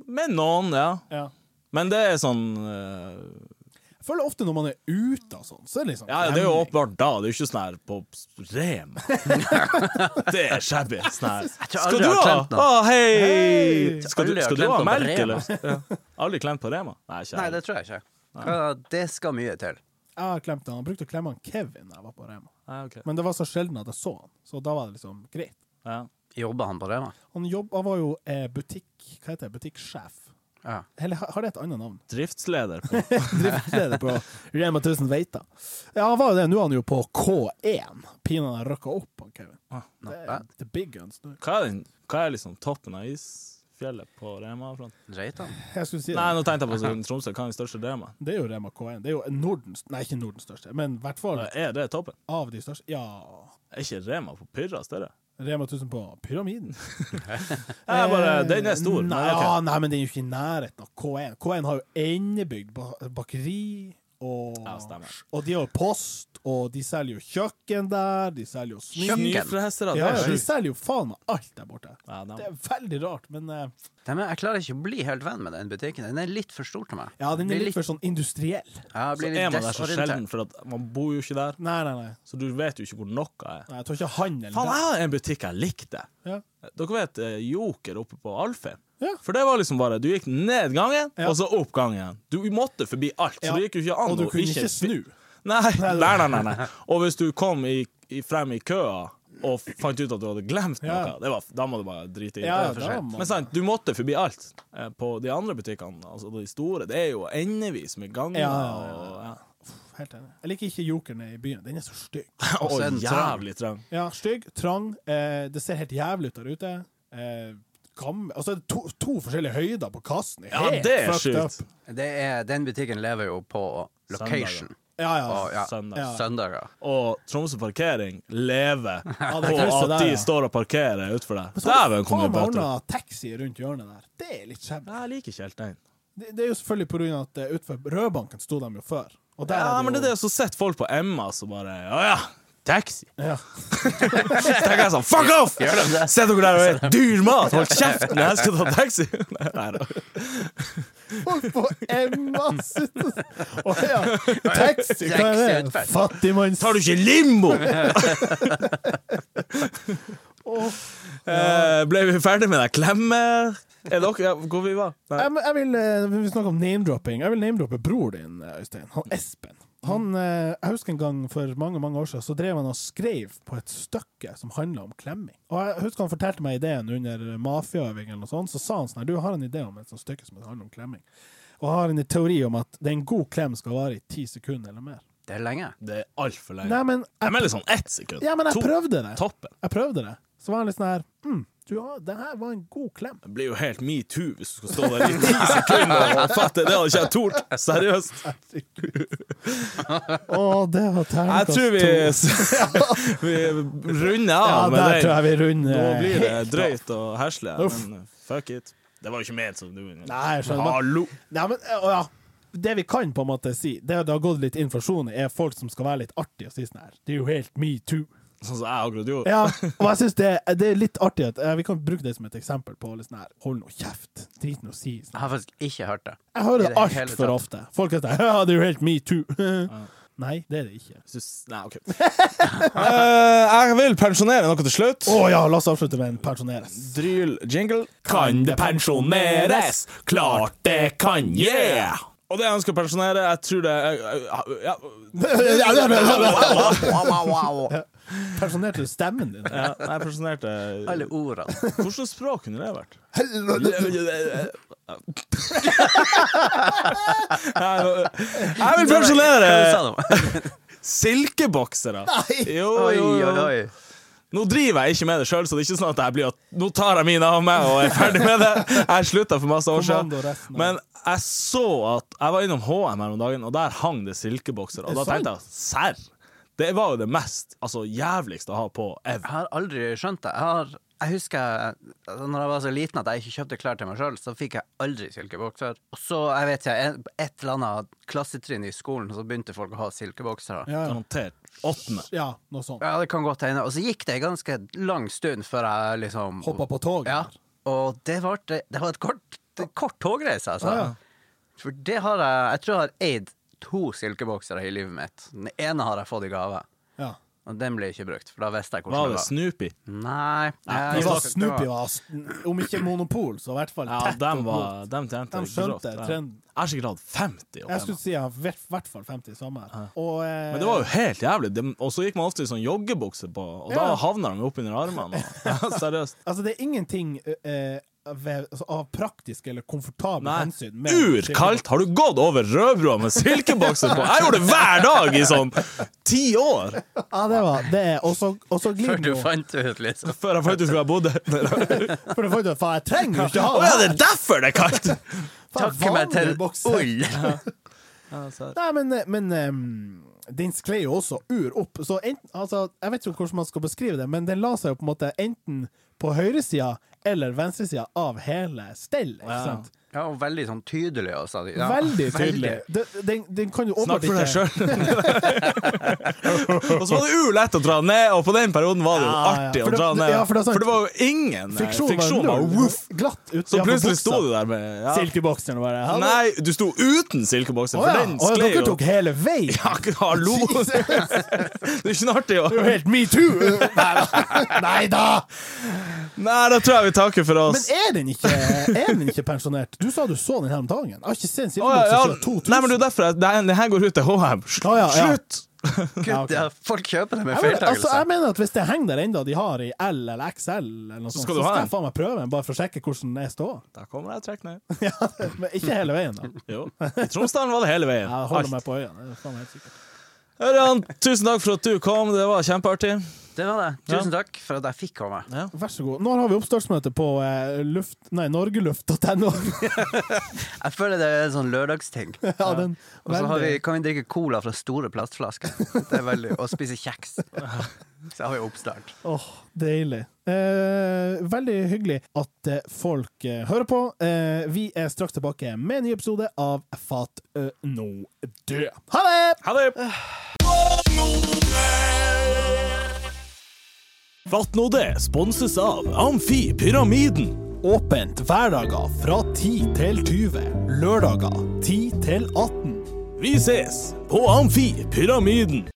Med noen, ja.
Ja.
Men det er sånn øh,
Jeg føler ofte når man er ute og sånn, så er det liksom
Ja, det er jo åpenbart da. Det er jo ikke sånn her på Rema. det er shabby. Sånn
tror
her.
jeg
Skal
aldri
du
har
ha? Ah!
klemt
Å,
noe.
hei! Skal du,
Aldri har
skal du
klemt
ha
noe på
melk,
Rema.
eller? Ja. Aldri klemt på Rema? Nei, ikke
Nei,
jeg.
det tror jeg ikke. Ja, Det skal mye til.
Jeg har klemt han. Han brukte å klemme han Kevin da jeg var på Rema.
Nei, ok.
Men det var så sjelden at jeg så han, så da var det liksom greit.
ja.
Jobber han på Rema?
Han, jobb, han var jo eh, butikk... Hva heter det? Butikksjef?
Ja.
Eller ha- har det et annet navn?
Driftsleder på
Driftsleder på Rema 1000 Veita. Ja, han var jo det. Nå er han jo på K1. Pinadø har røkka opp, han Kevin. Det er the big guns nå.
Hva er, den, hva er liksom toppen av isfjellet på Rema-fronten?
Reitan?
Jeg skulle si
Nei,
det.
nå tenkte jeg på sånn, Tromsø. Hva er den største Rema?
Det er jo Rema K1. Det er jo Nordens Nei, ikke Nordens største, men i hvert fall
Er det toppen?
av de største. Ja.
Er ikke Rema på Pyrra større?
Rema 1000 på Pyramiden.
Jeg bare, den er stor.
Eh, Nei,
men ok.
ja, nei, men den er jo ikke i nærheten av K1. K1 har jo endebygd ba- bakeri, og,
Ja, stemmer.
og de har jo post, og de selger jo kjøkken der, de selger jo smi...
Kjøkken?
Nyfrelsere, det
Ja,
er
de
sjukt.
selger jo faen meg alt der borte.
Ja, da.
Det er veldig rart, men eh,
Nei, men Jeg klarer ikke å bli helt venn med den butikken. Den er litt for stor til meg.
ja, den
Blir
er litt for sånn industriell.
ja, jeg
Så
blir
er
litt
man der så sjelden,
desorientert.
for at man bor jo ikke der.
Nei, nei, nei.
Så du vet jo ikke hvor noe er.
nei jeg tror ikke handel
Faen, jeg har en butikk jeg likte.
Ja.
Dere vet eh, Joker oppe på Alfheim?
Ja.
For det var liksom bare Du gikk ned gangen,
Ja.
og så opp gangen. Du måtte forbi alt, så
Ja.
det gikk jo ikke an
Og du
å
kunne ikke snu.
Nei, nei, nei, nei, nei. Og hvis du kom i, i, frem i køa og fant ut at du hadde glemt noe,
Ja.
det var, da må du bare drite i
Ja,
det. er for
da
sent.
må-
Men sant, du måtte forbi alt. Eh, På de andre butikkene, altså de store, det er jo endevis med ganger.
Ja, ja, ja,
og- ja.
Helt enig. Jeg liker ikke jokeren i byen. Den er så stygg.
Og
så er den trang.
jævlig trang.
Ja, stygg, trang. Eh, det ser helt jævlig ut der ute. Eh, gam- altså, det er to, to forskjellige høyder på kassen.
Ja,
Helt
det er
fucked
sjukt.
up.
Det er, den butikken lever jo på location.
Ja, ja.
Og, ja,
Søndag.
Ja.
Søndager.
Og Tromsø parkering lever
det
på
krysset
at
der,
de
ja.
står og parkerer utfor deg.
Så har du
Dæven, hvor mye
faen meg
bøter.
ordna taxi rundt hjørnet der. Det er litt skjebne.
Jeg liker ikke helt den.
Det, det er jo selvfølgelig på grunn av at eh, utenfor Rødbanken sto de jo før. Og der
Ja,
er
men det
det
er det
jo
så sitter folk på Emma som bare Å ja, taxi.
ja.
tenker jeg sånn Fuck off!
Gjør de det?
Se dere der og et dyr mat! Hold kjeften! Jeg skal ta taxi! Nei, nei, da.
Folk på Emma sitter Å ja. Taxi, hva er det?
Taxi,
Fattigmanns...
Tar du ikke limbo?! Eh, ble vi ferdig med den klemme... Er dere ja, Hvor vi var? Nei.
Jeg, jeg vil, eh, Vi snakker om name-dropping. Jeg vil name-droppe bror din, eh, Øystein. Han Espen. Han, eh, jeg husker en gang for mange mange år siden, så drev han og skrev på et stykke som handla om klemming. Og jeg husker Han fortalte meg ideen under mafiaøving, eller noe sånt, så sa han sånn her Du jeg har en idé om et sånt stykke som handler om klemming. Og jeg har en teori om at det er en god klem skal vare i ti sekunder eller mer.
Det er lenge.
Det er altfor lenge.
Nei, men
Jeg
jeg,
melder sånn ett sekund.
ja, men jeg
To.
prøvde det.
Toppen.
Jeg prøvde det. Så var han litt sånn her mm, du, har- Det her var en god klem.
Det blir jo helt metoo hvis du skal stå der i ti sekunder og fatte. Det hadde ikke jeg tort. Seriøst.
Å, det var
Jeg
terningkast
tror vi,
to.
vi runder
Ja,
av
der
med
tror
den.
jeg vi runder.
Nå blir det drøyt å hersle,
Uff.
men fuck it. Det var jo ikke ment som du
Nei, jeg skjønner.
Hallo!
Nei, men, eh, ja. Det vi kan på en måte si, det er at det har gått litt inflasjon i, er folk som skal være litt artige og si sånn her. Det er jo helt me too.
Sånn som jeg akkurat gjorde.
Ja, og jeg syns det, det er litt artig at eh, Vi kan bruke det som et eksempel på litt sånn her Hold nå kjeft. Drit nå si. Sånn.
Jeg har faktisk ikke hørt det.
Jeg
I
hører det
det hele tatt.
altfor ofte. Folk er sånn Ja, det er jo helt me too. Nei, det er det ikke.
Hvis du s- Nei, OK. Eh, jeg vil pensjonere noe til slutt.
Å ja, la oss avslutte med en pensjoneres.
Dryl jingle.
Kan det pensjoneres?
Klart det kan, yeah! Og det jeg ønsker å pensjonere, jeg tror det eh, ja,
Pensjonerte du stemmen din?
ja, Jeg pensjonerte
Alle ordene.
Hvilket språk kunne det vært? Jeg vil
Hva
pensjonere
sa du?
silkeboksere. Jo,
Oi,
jo,
oi,
jo.
oi.
Nå driver jeg ikke med det sjøl, så det er ikke sånn at jeg blir at nå tar jeg mine av meg og er ferdig med det. Jeg slutta for masse år
Kommando
siden.
resten av-
Men jeg så at Jeg var innom HM her om dagen, og der hang det silkebokser. Og
Er
da
det
tenkte jeg serr! Det var jo det mest altså jævligste å ha på ever.
Jeg har aldri skjønt det. Jeg, har, jeg husker altså, når jeg var så liten at jeg ikke kjøpte klær til meg sjøl, så fikk jeg aldri silkebokser. Og så, jeg vet ikke, en- på et eller annet klassetrinn i skolen, så begynte folk å ha silkeboksere.
Ja,
Garantert. Åttende.
ja noe sånt.
Ja, det kan godt hende. Og så gikk det en ganske lang stund før jeg liksom
Hoppa på toget.
Ja, og det var, det, det var et kort, et kort togreise, altså.
Ah, ja.
For det har jeg Jeg tror jeg har eid to silkeboksere i livet mitt. Den ene har jeg fått i gave,
Ja.
og den ble ikke brukt, for da visste jeg
Var
hvordan
det
det var.
Snoopy?
Nei,
De
jeg-
var Snoopy var sn- Om ikke monopol, så i hvert fall
Ja,
tett
dem
opp
var
mot.
Dem tjente
De skjønte trenden.
Jeg har sikkert hatt 50 opp
Jeg
hjemme.
skulle si jeg har i hvert- hvert fall 50 i sommer. Og, eh,
Men det var jo helt jævlig. Dem- Og så gikk man ofte i sånn joggebukse på, og da
Ja.
havna de oppunder armene. og- Ja, seriøst.
Altså, det er ingenting eh, ved, altså, av praktisk eller komfortabel
Nei.
hensyn med-
Urkaldt! Har du gått over rødbrua med silkebokser på? Jeg gjorde det hver dag i sånn ti år!
Ja, det var det. er- Og så og så glir
Før du
det jo.
fant ut, liksom.
Før jeg fant ut hvor jeg bodde.
For du fant ut faen, jeg trenger jo ikke
Å
ha
ja, det
her.
er derfor det er kaldt!
Faen,
Takke meg til
vanlig bokser.
ull!
Nei, men, eh, men ehm, den sklei jo også ur opp. Så enten, altså, jeg vet ikke hvordan man skal beskrive det, men den la seg jo på en måte enten på høyresida eller venstresida av hele stellet. Ikke sant?
Ja, og veldig sånn tydelig også. de- Ja.
Veldig tydelig. Den, den, den kan jo
Snakk
åpenbart
for deg
ikke
sjøl. og så var det ulett å dra den ned, og på den perioden var det jo
Ja, ja.
artig
For
å
det-
dra den ned.
ja, for
for,
det er sant.
det var jo ingen eh,
Friksjon
Friksjon var
null.
woof.
Glatt ut,
Så
ja, på
plutselig
buksa.
sto du der med ja.
Silkebokseren og bare hallo.
Nei, du sto uten silkebokser,
Å
for
ja.
den
Å,
sklei
dere
jo.
tok hele veien!
Ja, hallo! Det er ikke noe artig å
Det er jo helt metoo! Nei da!
Nei, da tror jeg vi takker for oss.
Men er den ikke, er den ikke pensjonert? Du sa du så den her om dagen. Jeg har ikke sett en
Å, ja,
silkebokser
ja.
siden 2000.
Nei, men det er derfor jeg, det, her- det her går ut til HM. Sl-
Å, ja, ja.
Slutt!
Ja, ok.
Gud, ja, folk kjøper det med
Jeg mener, altså,
feiltagelser.
jeg mener at Hvis det henger der ennå, de har i L eller XL, eller noe sånt, så
skal
skal,
du ha en.
jeg faen meg prøve en, bare for å sjekke hvordan jeg står.
Da kommer jeg og trekker ned.
Ja, men ikke hele veien, da.
Jo. I Tromsdalen var det hele veien.
Jeg
Alt.
holder meg på øynene. Det er faen meg helt sikkert.
Ørjan, tusen takk for at du kom. Det var kjempeartig.
Det var det. Tusen takk for at jeg fikk komme.
Vær så god. Når har vi oppstartsmøte på eh, luft... Nei, norgeluft.no?
Jeg føler det er en sånn lørdagsting.
ja, den
Og så har
veldig-
vi, kan vi drikke cola fra store plastflasker. Det er veldig, Og spise kjeks. Så har vi oppstart.
Åh, deilig. Eh, veldig hyggelig at eh, folk eh, hører på. Eh, vi er straks tilbake med en ny episode av Fat uh, no død. Ha det!
Ha det! Fatt nå det sponses av Amfi Pyramiden.
Åpent hverdager fra 10 til 20. Lørdager 10 til 18.
Vi ses på Amfi Pyramiden.